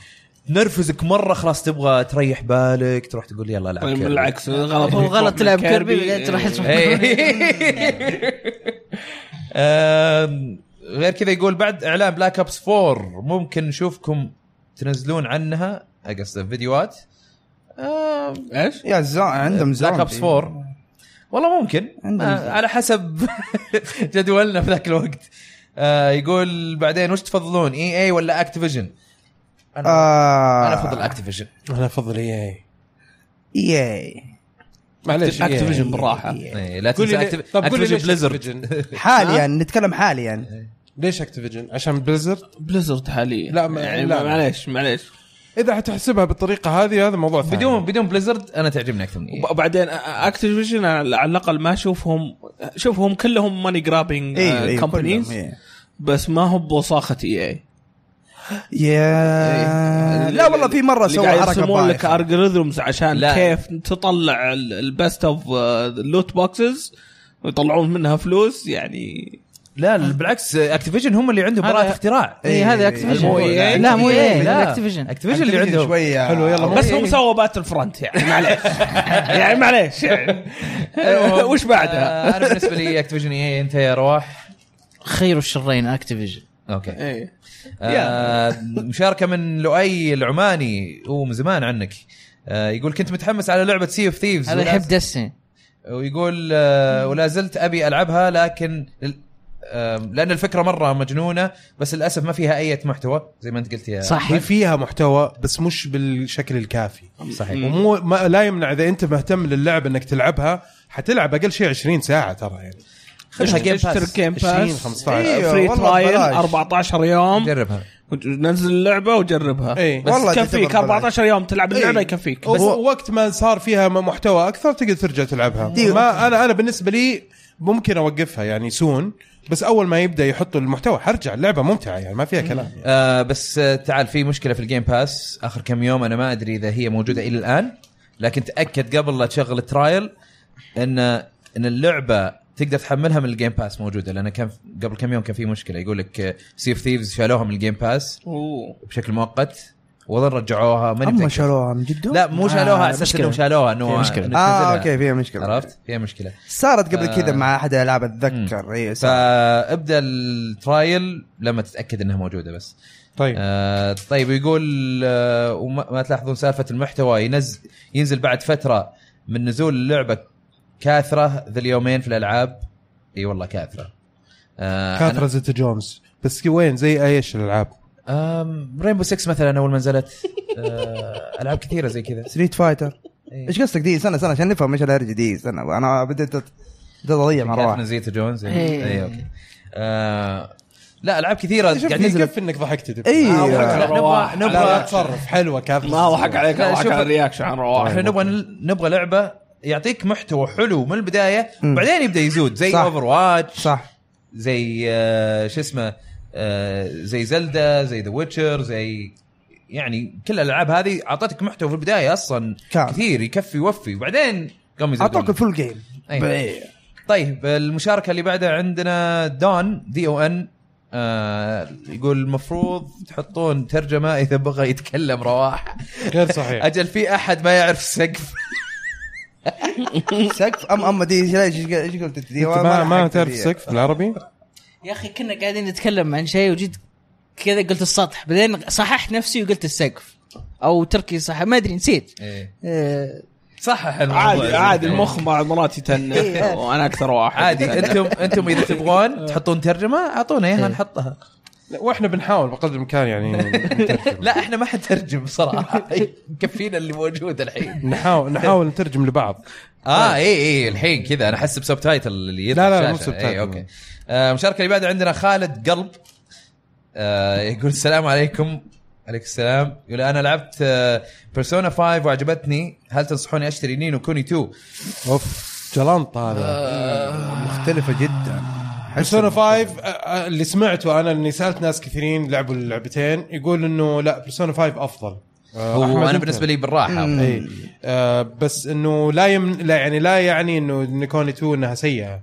نرفزك مره خلاص تبغى تريح بالك تروح تقول يلا العب
طيب
كيربي.
بالعكس غلط
هو
إنك
غلط
تروح
تلعب
من
كيربي بعدين تروح
إيه.
تروح.
إيه. آم، غير كذا يقول بعد اعلان بلاك ابس 4 ممكن نشوفكم تنزلون عنها اقصد فيديوهات
ايش؟
يا زا عندهم زا
بلاك ابس 4 والله ممكن
عندنا
آه،
زي.
على حسب جدولنا في ذاك الوقت آه يقول بعدين وش تفضلون اي اي ولا اكتيفيجن انا
آه.
انا افضل اكتيفيجن
انا افضل اي
ياي
معليش
Activision بالراحه
إيه، لا
قول
تنسى
لي
أكتيف-
طب قول لي
اكتيفيجن
ليش
بليزرد
Activision؟
حاليا نتكلم حاليا
ليش اكتيفيجن عشان بليزرد
بليزرد حاليا
لا، ما-
يعني
لا.
معليش معليش
اذا حتحسبها بالطريقه هذه هذا موضوع ثاني
بدون بدون بليزرد انا تعجبني اكثر من إي.
وب- وبعدين اكتيفيجن على الاقل ما اشوفهم شوف هم كلهم ماني جرابنج
ايوه ايوه كلهم،
كومبانيز
إيه.
بس ما هو E بوساخه اي اي
يا آه، لا والله في مره سوى حركه
إيه. يرسمون لك
بايخة.
الجوريزمز عشان
لا.
لا. كيف تطلع البست اوف اللوت بوكسز آه، ويطلعون منها فلوس يعني
لا لا، بالعكس اكتيفيجن هم اللي عندهم براءه اختراع يعني
اي إيه، هذا اكتيفيجن
مو EA.
إيه، لا مو اي
لا.
اكتيفيجن
اكتيفيجن اللي
Activision
عندهم
شويه
حلو، يلا.
بس
إيه.
هم سووا باتل فرونت يعني معليش يعني معليش يعني وش بعدها؟
آه، انا بالنسبه لي اكتيفيجن اي انت يا رواح
خير الشرين اكتيفيجن
اوكي
إيه.
آه، مشاركه من لؤي العماني هو من زمان عنك آه، يقول كنت متحمس على لعبه سي اوف ثيفز
هذا يحب دسن
ويقول آه، ولا زلت ابي العبها لكن لل- آه، لان الفكره مره مجنونه بس للاسف ما فيها اي محتوى زي ما انت قلت يا
صح
هي فيها محتوى بس مش بالشكل الكافي
صحيح
ومو ما لا يمنع اذا انت مهتم للعب انك تلعبها حتلعب اقل شيء 20 ساعه ترى يعني
خذها جيم
اشترك
باس
جيم
20
باس
15
إيه.
فري
والله
ترايل
ببلاش.
14 يوم
جربها
نزل اللعبه وجربها
إيه.
بس
والله
والله
تعتبر
يكفيك
ببلاش.
14 يوم تلعب اللعبه يكفيك
بس
بس
وقت ما صار فيها م- محتوى اكثر تقدر ترجع تلعبها
ديو.
ما انا انا بالنسبه لي ممكن اوقفها يعني سون بس اول ما يبدا يحط المحتوى حرجع اللعبه ممتعه يعني ما فيها كلام يعني.
آه بس آه، تعال في مشكله في الجيم باس اخر كم يوم انا ما ادري اذا هي موجوده الى الان لكن تاكد قبل لا تشغل الترايل ان ان اللعبه تقدر تحملها من الجيم باس موجوده لان كان قبل كم يوم كان في مشكله يقول لك آه، سي اوف ثيفز شالوها من الجيم باس
أوه.
بشكل مؤقت وظل رجعوها ماني
اما
متأكد.
شالوها من جد
لا مو شالوها
آه،
آه اساس
مشكلة.
انهم شالوها
فيها
انه
مشكلة. آه،
إنك
اه
تنزلها.
اوكي فيها مشكله
عرفت فيها مشكله
صارت قبل
آه.
كذا مع احد الالعاب اتذكر اي
فابدا الترايل لما تتاكد انها موجوده بس
طيب
آه طيب يقول آه وما ما تلاحظون سالفه المحتوى ينزل ينزل بعد فتره من نزول اللعبه كاثره ذا اليومين في الالعاب اي والله كاثره آه
كاثرة زيتا جونز بس وين زي ايش الالعاب
رينبو 6 مثلا اول ما نزلت آه العاب كثيره زي كذا
ستريت فايتر
إيه.
ايش قصدك دي سنه سنه عشان نفهم ايش الهرجه دي سنه انا بديت أت- بديت اضيع مع
كاثرين
رواح
زيتا جونز
إيه.
اي اوكي آه لا العاب كثيره
شوف يكفي
قاعد يعني نزلت
انك ضحكت دب.
إيه.
آه،
يا
لا،
رواح.
نبغى
لا،
نبغى
لا.
تصرف حلوه كاثرة
ما وحق عليك
لا،
وحق
شوف-
على الرياكشن عن رواح
احنا نبغى نبغى لعبه يعطيك محتوى حلو من البدايه
مم.
بعدين يبدا يزود زي
صح.
اوفر واتش
صح
زي آه، شو اسمه آه، زي زلدا زي ذا ويتشر زي يعني كل الالعاب هذه اعطتك محتوى في البدايه اصلا
كامل.
كثير يكفي يوفي وبعدين قام يزودون.
اعطوك الفول جيم
أيوة.
بإيه.
طيب المشاركه اللي بعدها عندنا دون دي او ان يقول المفروض تحطون ترجمه اذا بغى يتكلم رواح
غير صحيح
اجل في احد ما يعرف السقف
سقف ام اما دي لا، ايش ايش قلت أنت دي؟
انت ما, ما
لحقت
تعرف
دي.
سقف بالعربي؟
يا اخي كنا قاعدين نتكلم عن شيء وجيت كذا قلت السطح بعدين صححت نفسي وقلت السقف او تركي صح ما ادري نسيت
إيه.
آه،
صحح الموضوع
عادي
زين.
عادي
إيه.
المخ مع مراتي تنح وانا اكثر واحد
عادي انتم انتم اذا
إيه.
تبغون تحطون ترجمه اعطونا اياها نحطها
لا، واحنا بنحاول بقدر الامكان يعني نترجم.
لا احنا ما حنترجم صراحه يكفينا اللي موجود الحين
نحاول نحاول نترجم لبعض
اه اي اي الحين كذا انا احس بسب تايتل اللي يطلع
لا، لا،
في
مو
الشاشة.
سبتايتل.
إيه، اوكي آه، المشاركه اللي بعدها عندنا خالد قلب آه، يقول السلام عليكم عليك السلام يقول انا لعبت بيرسونا 5 وعجبتني هل تنصحوني اشتري نينو كوني 2
اوف جلنط
آه،
هذا
مختلفه جدا
بيرسونا 5 آه، آه، اللي سمعته انا اني سالت ناس كثيرين لعبوا اللعبتين يقول انه لا بيرسونا 5 افضل آه، أحمد،
هو انا
أنت؟
بالنسبه لي بالراحه
اي آه بس انه لا يم لا يعني لا يعني انه نيكوني 2 انها سيئه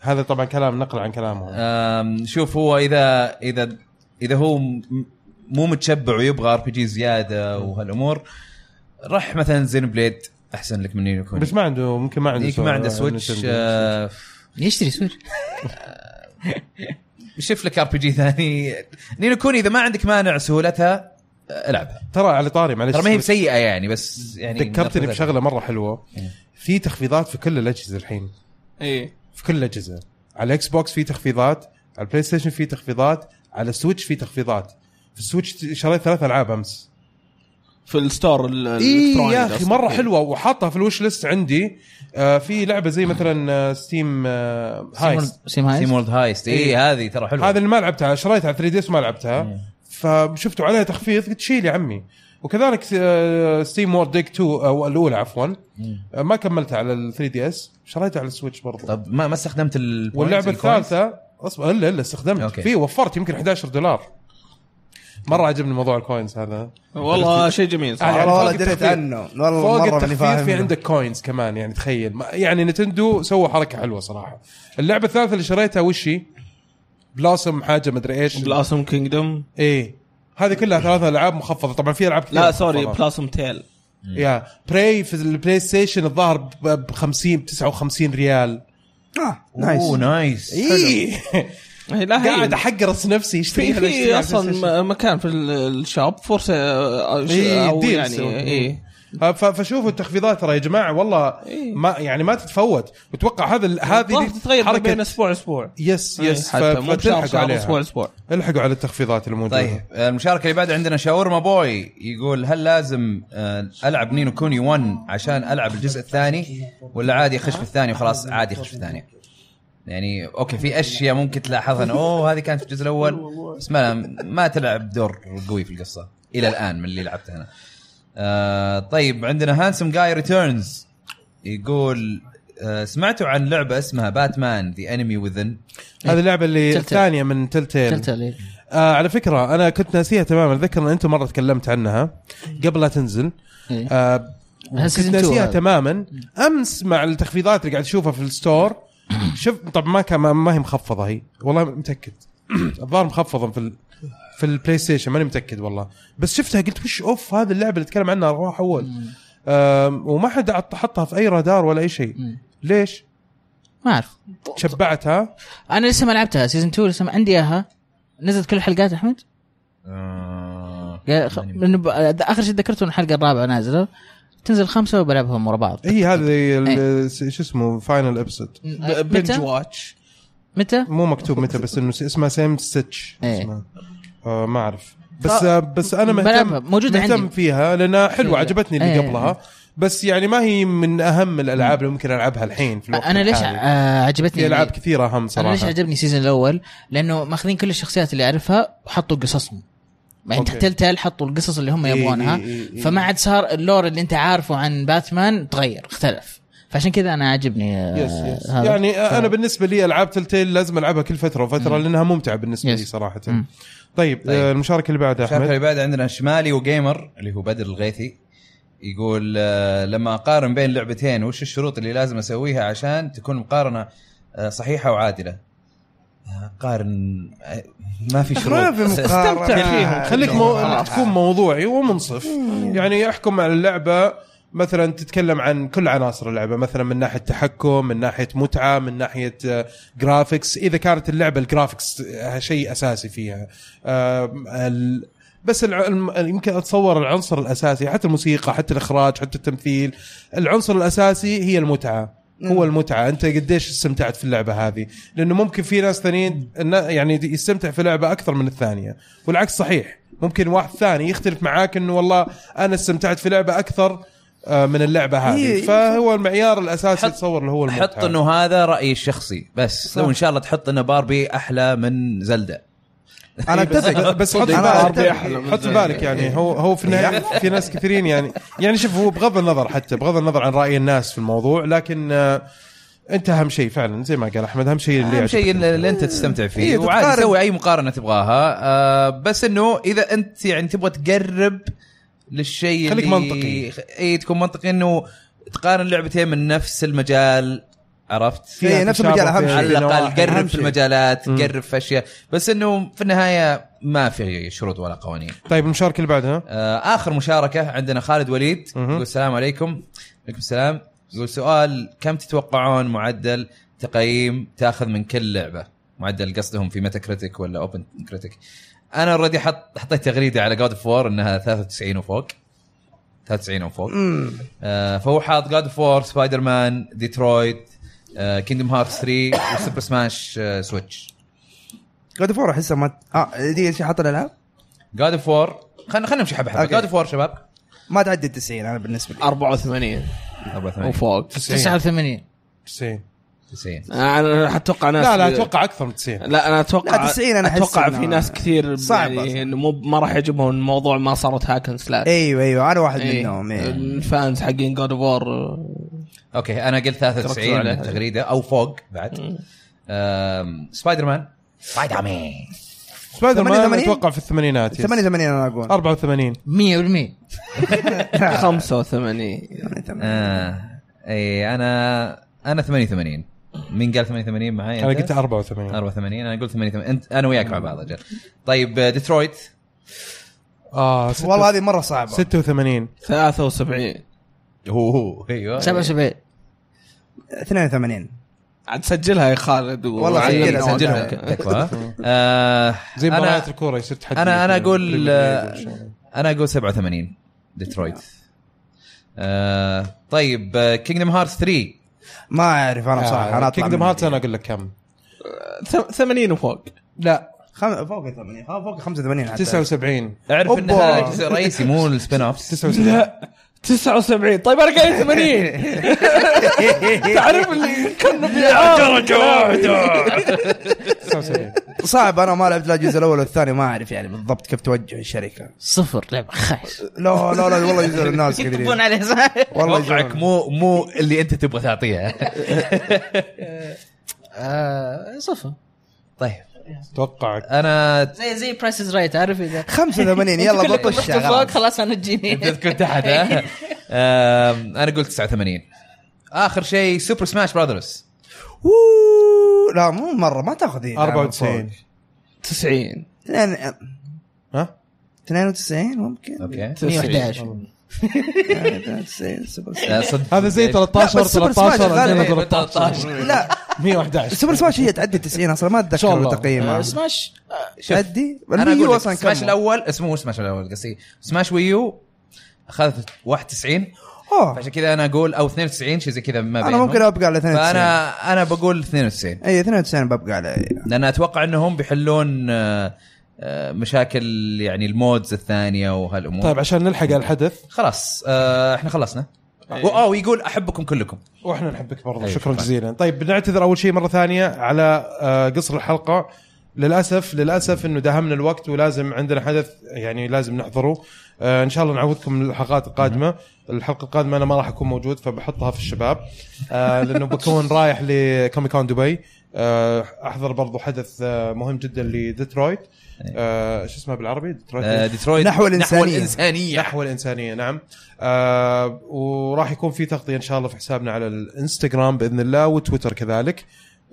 هذا طبعا كلام نقل عن
آه.
كلامه
أم، شوف هو اذا اذا اذا هو م- مو متشبع ويبغى ار بي جي زياده وهالامور راح مثلا زين بليد احسن لك من نينو كوني
بس ما عنده ممكن ما عنده
هيك ما عنده سويتش آه،
يشتري سويتش
شوف لك ار بي جي ثاني نينو كوني اذا ما عندك مانع سهولتها آه، العبها
ترى على طاري معلش
ترى ما هي بسيئه يعني بس يعني
ذكرتني
نرفز-
بشغله مره حلوه في تخفيضات في كل الاجهزه الحين
اي
في كل الاجهزه على الاكس بوكس في تخفيضات على البلاي ستيشن في تخفيضات على السويتش في تخفيضات في السويتش شريت ثلاث العاب امس
في الستور ال-
اي
الإلكتروني
إيه يا
ده
اخي
أصلاً.
مره
إيه.
حلوه وحاطها في الوش ليست عندي آه في لعبه زي مثلا آه، ستيم آه هايست
سيم هايست
سيم وورد هايست اي إيه،
إيه.
هذه ترى حلوه
هذا اللي ما لعبتها شريتها على 3 دي وما لعبتها فشفتوا عليها تخفيض قلت شيل يا عمي وكذلك آه ستيم وورد ديك 2 او الاولى عفوا آه ما كملتها على ال 3 دي اس شريتها على السويتش برضه
طب ما ما استخدمت ال
واللعبه
points، ال coins؟
الثالثه اصبر الا الا استخدمت
أوكي.
في وفرت يمكن 11 دولار مره عجبني موضوع الكوينز هذا
والله شيء جميل صراحه
يعني
والله
فوق
والله دريت
التخفيض.
عنه والله
فوق
مره ماني
التخفيض
فاهم
في عندك كوينز كمان يعني تخيل ما- يعني نتندو سووا حركه حلوه صراحه اللعبه الثالثه اللي شريتها وش هي؟ بلاسم حاجه مدري ايش
بلاسم كينجدوم
ايه هذه كلها ثلاثة العاب مخفضه طبعا في العاب كثير
لا سوري
مخفضة.
بلاسم تيل
يا براي في البلاي ستيشن الظاهر ب 50 59 ريال
آه،
اوه
نايس
نايس
اي
إيه، لا هي-
قاعد احقرص نفسي
في
اشتريها
في اصلا م- مكان في ال- الشوب فرصه آه، ش-
إيه،
او
ديل
يعني
سوي.
اي
ف- فشوفوا التخفيضات ترى يا جماعه والله
إيه.
ما يعني ما تتفوت واتوقع هذا ال- هذه دي
تتغير ما بين اسبوع اسبوع
يس يس ف-
حتى مو بشهر
فتلحقوا
شهر اسبوع
عليها
اسبوع
الحقوا على التخفيضات الموجوده
طيب المشاركه اللي بعد عندنا شاورما بوي يقول هل لازم آه، العب نينو كوني 1 عشان العب الجزء الثاني ولا عادي اخش في الثاني وخلاص عادي اخش في الثاني يعني اوكي في اشياء ممكن تلاحظها انه اوه هذه كانت في الجزء الاول بس ما ما تلعب دور قوي في القصه الى الان من اللي لعبته انا آه طيب عندنا هانسم جاي ريتيرنز يقول آه سمعتوا عن لعبه اسمها باتمان ذا انمي وذن
هذه اللعبه اللي
تلتيل.
الثانيه من تلتيل
تلتل إيه.
آه على فكره انا كنت ناسيها تماما اتذكر ان انت مره تكلمت عنها قبل لا تنزل
إيه.
آه
هل
كنت
سيزن تو
ناسيها
هذا؟
تماما
إيه.
امس مع التخفيضات اللي قاعد اشوفها في الستور شوف طبعا ما كان ما هي مخفضه هي والله متاكد الظاهر مخفضه في ال... في البلاي ستيشن ماني متاكد والله بس شفتها قلت وش اوف هذه اللعبه اللي تكلم عنها راح اول
إيه.
آم، وما حد عط- حطها في اي رادار ولا اي شيء
مم.
ليش؟
ما اعرف
شبعتها
انا لسه ما لعبتها سيزون 2 لسه ما عندي اياها نزلت كل الحلقات احمد؟
آه
يا خ- لانه ب- اخر شيء ذكرته إن الحلقه الرابعه نازله تنزل خمسه وبلعبهم ورا بعض
هي
إيه.
هذه ال- شو اسمه فاينل ابسود
ب-
بنج
إيه. متى؟
واتش
متى؟
مو مكتوب متى بس انه اسمها سيم ستيتش
إيه.
اسمها. آه ما اعرف بس آه بس انا
بلعبها،
مهتم
موجودة
مهتم
عندي.
فيها لانها حلوه
فيها.
عجبتني اللي
إيه.
قبلها بس يعني ما هي من اهم الالعاب اللي ممكن العبها الحين في الوقت
انا ليش
الحالي.
آه، عجبتني
في العاب
يعني-
كثيره اهم
انا ليش
صراحه
عجبني السيزون الاول؟ لانه ماخذين كل الشخصيات اللي اعرفها وحطوا قصصهم. يعني
أوكي.
تلتل حطوا القصص اللي هم
إي-
يبغونها
إي- إي- إي.
فما عاد صار اللور اللي انت عارفه عن باتمان تغير اختلف فعشان كذا انا عاجبني آه،
يس يس
هذا.
يعني آه، انا بالنسبه لي العاب تلتيل لازم العبها كل فتره وفتره لانها ممتعه بالنسبه
يس.
لي صراحه
مم.
طيب,
طيب.
آه، المشاركه اللي بعدها
الشركه
احمد
اللي بعد عندنا شمالي وجيمر اللي هو بدر الغيثي يقول آه، لما اقارن بين لعبتين وش الشروط اللي لازم اسويها عشان تكون مقارنه آه، صحيحه وعادله آه، قارن آه، ما في شروط
ما في مقارنة. آه،
استمتع فيهم
خليك مو... تكون موضوعي ومنصف يعني احكم على اللعبه مثلا تتكلم عن كل عناصر اللعبه مثلا من ناحيه تحكم من ناحيه متعه من ناحيه جرافيكس اذا كانت اللعبه الجرافيكس آه، شيء اساسي فيها آم، ال- بس الع... الم- يمكن اتصور العنصر الاساسي حتى الموسيقى حتى الاخراج حتى التمثيل العنصر الاساسي هي المتعه
نعم.
هو المتعه انت قديش استمتعت في اللعبه هذه لانه ممكن في ناس ثانيين إنه يعني يستمتع في لعبه اكثر من الثانيه والعكس صحيح ممكن واحد ثاني يختلف معاك انه والله انا استمتعت في لعبه اكثر آه، من اللعبه هذه
هي-
فهو المعيار الاساسي
حط-
اتصور اللي هو المتعه
حط انه هذا رايي الشخصي بس
صح.
وان شاء الله تحط انه باربي احلى من زلدا
انا اتفق
بس حط
أنا
بالك
أتفق.
حط بالك يعني هو هو في النهايه في ناس كثيرين يعني يعني شوف هو بغض النظر حتى بغض النظر عن راي الناس في الموضوع لكن آه، انت اهم شيء فعلا زي ما قال احمد اهم شيء اللي
اهم شيء
يعجبك.
اللي اللي انت تستمتع
إيه،
فيه وعادي
تتقارن.
سوي اي مقارنه تبغاها آه بس انه اذا انت يعني تبغى تقرب للشيء
خليك
اللي-
منطقي.
اي تكون منطقي انه تقارن لعبتين من نفس المجال عرفت؟
فيها
إيه، نفس
تشابه،
المجال أهم
فيها
شيء.
على الاقل
نواحي.
قرب
أهم
في
شيء.
المجالات
مم.
قرب في اشياء بس انه في النهايه ما في شروط ولا قوانين
طيب المشاركه اللي بعدها
آه، اخر مشاركه عندنا خالد وليد
مهم.
يقول السلام عليكم عليكم السلام يقول سؤال كم تتوقعون معدل تقييم تاخذ من كل لعبه معدل قصدهم في ميتا كريتيك ولا اوبن كريتيك انا اوريدي حط حطيت تغريده على جود اوف وور انها 93 وفوق 93 وفوق آه، فهو حاط جاد فور سبايدر مان ديترويت كيندم هارت 3 وسوبر سماش آه، سويتش
جاد فور احسها ما اه دي ايش حاط الالعاب؟
جاد اوف وور خلينا خلينا نمشي حبه حبه
أوكي.
جاد اوف وور شباب
ما تعدي 90 انا بالنسبه لي
84
84
وفوق
89
90
90
انا اتوقع ناس
لا لا اتوقع اكثر من 90
لا انا اتوقع
لا، 90 أنا أحس
اتوقع
إنه
في ناس كثير
صعبة.
يعني انه مو ما راح يعجبهم الموضوع ما صارت هاكن سلاش يعني
ايوه ايوه انا واحد منهم إيه.
الفانز حقين جود اوف وور
اوكي انا قلت 93
عليها.
من التغريده او فوق بعد أم، سبايدر مان سبايدر مان
سبايدر مان
88
اتوقع في الثمانينات يس.
88 انا اقول
84
إيه،
100%
85
آه، اي انا انا 88 مين قال 88 معي
انا
أنت؟
قلت 84
84 انا قلت 88 انت انا وياك مع بعض اجل طيب آه، ديترويت
اه ستة-
والله هذه مره صعبه
86
73
اوه ايوه
77
82
عاد سجلها يا خالد و-
والله
أي،
سجلها،
علمنا
سجلها
وجهك.
تكفى آه،
زي مباريات
انا
الكوره يصير تحدي
أنا- أنا أقول، آه،
بريمير ليج ولا شيء.
انا اقول 87 ديترويت آه، طيب كينجدم هارت 3
ما اعرف انا بصراحه انا اطلع
كينجدم
منها.
هارت انا اقول لك كم
ثم- 80 وفوق
لا
خم... فوق 80 ها فوق 85 حتى
79
اعرف ان
أوبا.
هذا الجزء الرئيسي مو السبين اوف
79
79 طيب انا قايل 80 تعرف اللي كنا في
صعب انا ما لعبت لا الجزء الاول والثاني ما اعرف يعني بالضبط كيف توجه الشركه
صفر لعبه خايس
لا لا لا والله يزعل الناس
يكتبون
كثيرين
عليه صح
والله
وضعك
يزعلون.
مو مو اللي انت تبغى تعطيها
آه، صفر
طيب
اتوقع
انا
زي زي برايس از رايت عارف اذا
85 يلا
كلكم
بطش
رحتوا فوق
على
خلاص انا تجيني
انت تكون تحت ها؟ آم، انا قلت 89 اخر شيء سوبر سماش براذرز
أوه، لا مو مره ما تاخذ هي
94
90
اثنين-
ها
92 ممكن
اوكي
111
92 سوبر سماش.
لا، آه، صدق.
هذا زي
يعني- لا،
13
بس سوبر سماش
13
غالباً.
13
لا
111
سوبر سماش هي تعدي 90 اصلا ما
شاء
اتذكر
الله.
تقييمها
سماش
شوف
تعدي
انا
الويو
اقول لك
أصلاً كم؟
سماش الاول اسمه مو سماش الاول قصدي سماش ويو اخذت 91
اوه
فعشان كذا انا اقول او 92 شيء زي كذا ما
انا
بينهم.
ممكن ابقى على 92
فانا انا بقول 92
اي 92 ببقى على
لان اتوقع انهم بيحلون آه، آه، مشاكل يعني المودز الثانيه وهالامور
طيب عشان نلحق على الحدث
خلاص آه، احنا خلصنا اه ويقول احبكم كلكم
واحنا نحبك برضه
أيوة،
شكرا
طيب.
جزيلا طيب بنعتذر اول شيء مره ثانيه على آه، قصر الحلقه للاسف للاسف انه داهمنا الوقت ولازم عندنا حدث يعني لازم نحضره آه، ان شاء الله نعودكم من الحلقات القادمه الحلقه القادمه انا ما راح اكون موجود فبحطها في الشباب آه، لانه بكون رايح لكومي كون دبي آه، احضر برضه حدث آه، مهم جدا لديترويت آه، شو اسمه بالعربي ديترويت
أيوة.
إيه؟
آه، ديترويت
نحو الإنسانية.
نحو الانسانيه
نحو الانسانيه نعم آه وراح يكون في تغطيه ان شاء الله في حسابنا على الانستغرام باذن الله وتويتر كذلك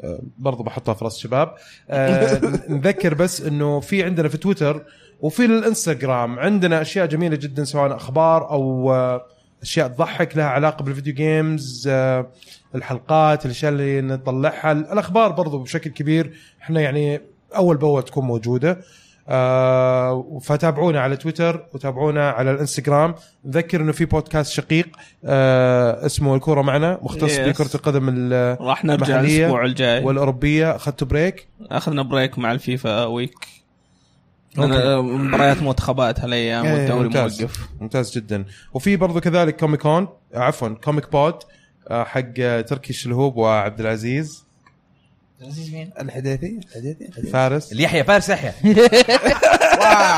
آه، برضو بحطها في راس الشباب آه نذكر بس انه في عندنا في تويتر وفي الانستغرام عندنا اشياء جميله جدا سواء اخبار او آه، اشياء تضحك لها علاقه بالفيديو جيمز آه، الحلقات الاشياء اللي نطلعها الاخبار برضو بشكل كبير احنا يعني اول باول تكون موجوده آه، فتابعونا على تويتر وتابعونا على الانستغرام نذكر انه في بودكاست شقيق آه، اسمه الكوره معنا مختص
Yes.
بكره القدم ال-
راح نرجع
محلية
الاسبوع الجاي
والاوروبيه اخذت بريك
اخذنا بريك مع الفيفا ويك
أوكي.
أنا- مباريات منتخبات هالايام
إيه،
والدوري
ممتاز.
موقف
ممتاز جدا وفي برضو كذلك كوميك كون عفوا كوميك بود آه، حق آه، تركي الشلهوب وعبد العزيز
عزيز مين؟
الحديثي الحديثي الحديثي.
فارس
اليحيى فارس يحيى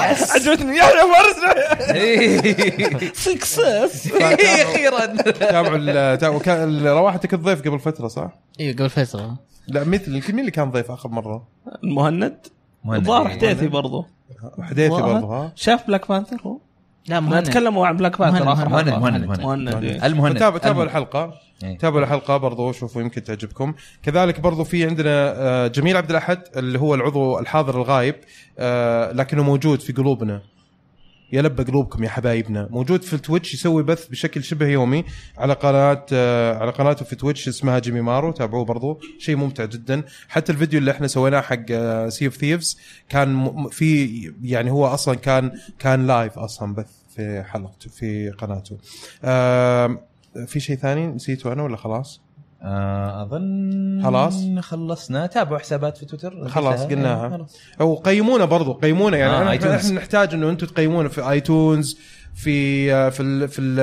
عجبتني يا فارس
إيه.
سكسس
اخيرا
تابعوا ال- تابعوا كان ال- رواحتك الضيف قبل فتره صح؟
ايوه قبل فتره
لا مثل يمكن مين اللي كان ضيف اخر مره؟
المهند
إيه؟
الظاهر حديثي برضو
حديثي
والله.
برضو ها؟
شاف بلاك بانثر هو
لا
ما
مهند
تكلموا عن بلاك بانثر
مهند-
اخر
مهند-
مرة.
مهند- مهند.
مهند إيه.
المهند
تابعوا تابعوا
الم-
الحلقه
إيه.
تابعوا الحلقه برضو شوفوا يمكن تعجبكم كذلك برضو في عندنا آه، جميل عبد الاحد اللي هو العضو الحاضر الغايب آه، لكنه موجود في قلوبنا يا لب قلوبكم يا حبايبنا موجود في التويتش يسوي بث بشكل شبه يومي على قناه آه، على قناته في تويتش اسمها جيمي مارو تابعوه برضو شيء ممتع جدا حتى الفيديو اللي احنا سويناه حق آه، سي اوف ثيفز كان م- م- في يعني هو اصلا كان كان لايف اصلا بث في حلقته في قناته آم، في شيء ثاني نسيته انا ولا خلاص
آه، اظن
خلاص؟
خلصنا تابعوا حسابات في تويتر
خلاص،
قلتها.
قلناها.
إيه، خلاص.
او قيمونا برضو قيمونا يعني
آه،
آه
iTunes.
احنا نحتاج انه انتم تقيمونا في ايتونز في آه، في ال في ال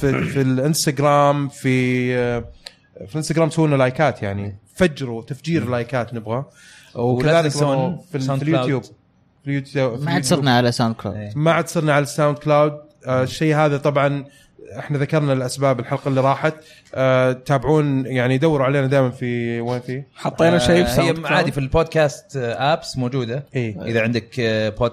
في, في الانستغرام في آه، في الانستغرام سووا لنا لايكات يعني فجروا تفجير لايكات نبغى
ولا
وكذلك
تنسون
برضو في, ال- في
ساوند
اليوتيوب
كلاود.
في اليوتيوب في
ما عاد
اليوتيوب.
صرنا على ساوند كلاود
إيه.
ما عاد صرنا على الساوند كلاود آه، الشيء هذا طبعا احنا ذكرنا الاسباب الحلقه اللي راحت آه، تابعون يعني دوروا علينا دائما في وين في
حطينا شيء في
آه،
ساوند
هي
كلاود.
عادي في البودكاست آه، ابس موجوده
إيه.
اذا عندك آه، بود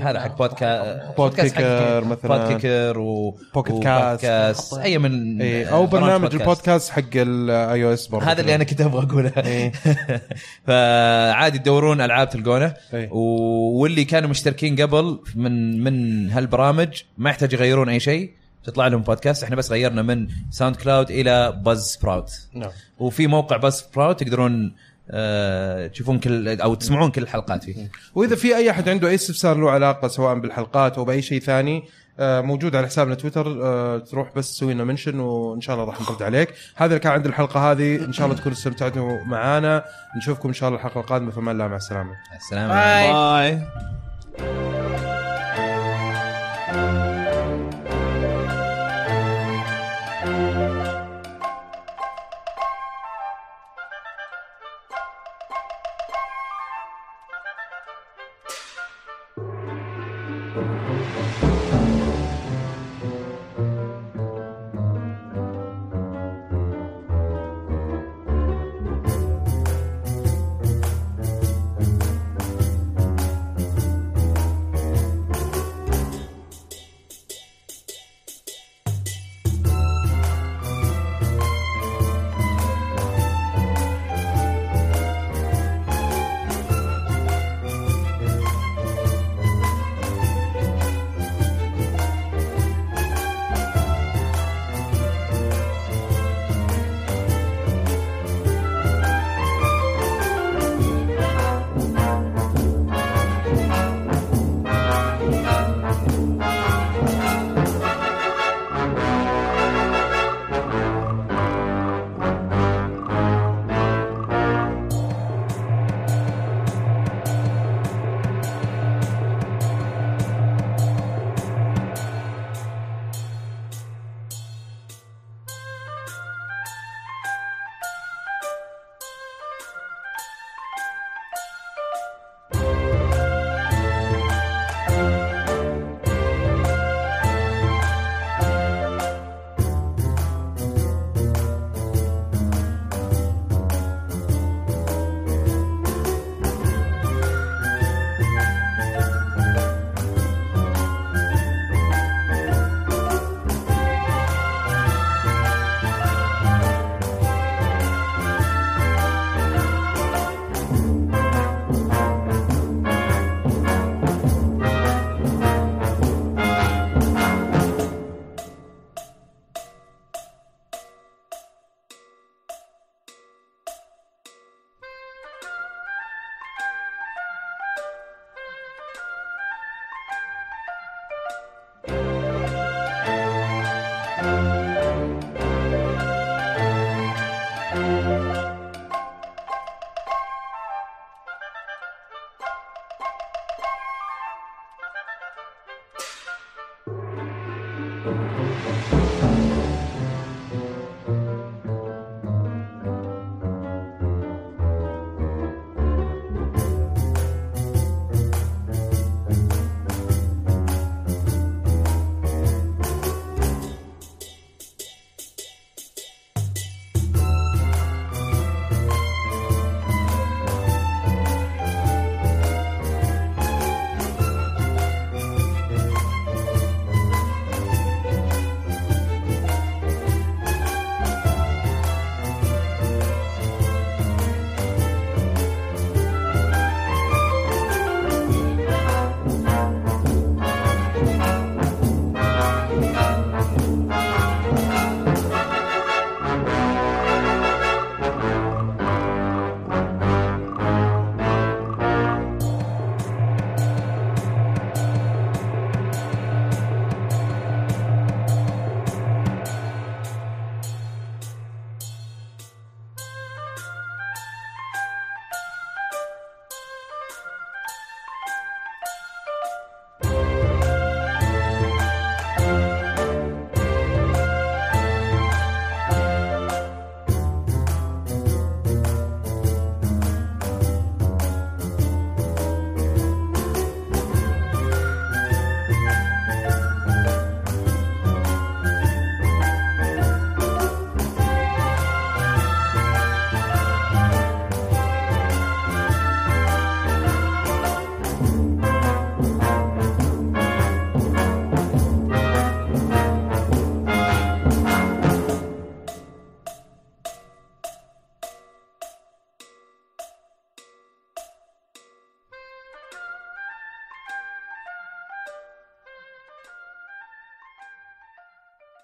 هذا حق بودكا بودكاست حق-
كيكر مثلاً.
بودكيكر و
بوكيت
وبودكاست.
كاست.
اي من
إيه،
آه،
او برنامج
بودكاست.
البودكاست حق الاي او اس برضه
هذا اللي انا كنت ابغى اقوله
إيه.
فعادي تدورون العاب تلقونه
إيه.
و- واللي كانوا مشتركين قبل من من هالبرامج ما يحتاج يغيرون اي شيء تطلع لهم بودكاست احنا بس غيرنا من ساوند كلاود الى باز سبراوت
نعم
وفي موقع باز سبراوت تقدرون آه، تشوفون كل او تسمعون كل الحلقات فيه
واذا في اي احد عنده اي استفسار له علاقه سواء بالحلقات او باي شيء ثاني آه، موجود على حسابنا تويتر آه، تروح بس تسوي لنا منشن وان شاء الله راح نرد عليك هذا اللي كان عند الحلقه هذه ان شاء الله تكونوا استمتعتوا معنا نشوفكم ان شاء الله الحلقه القادمه فمان الله مع السلامه
السلام
باي.
باي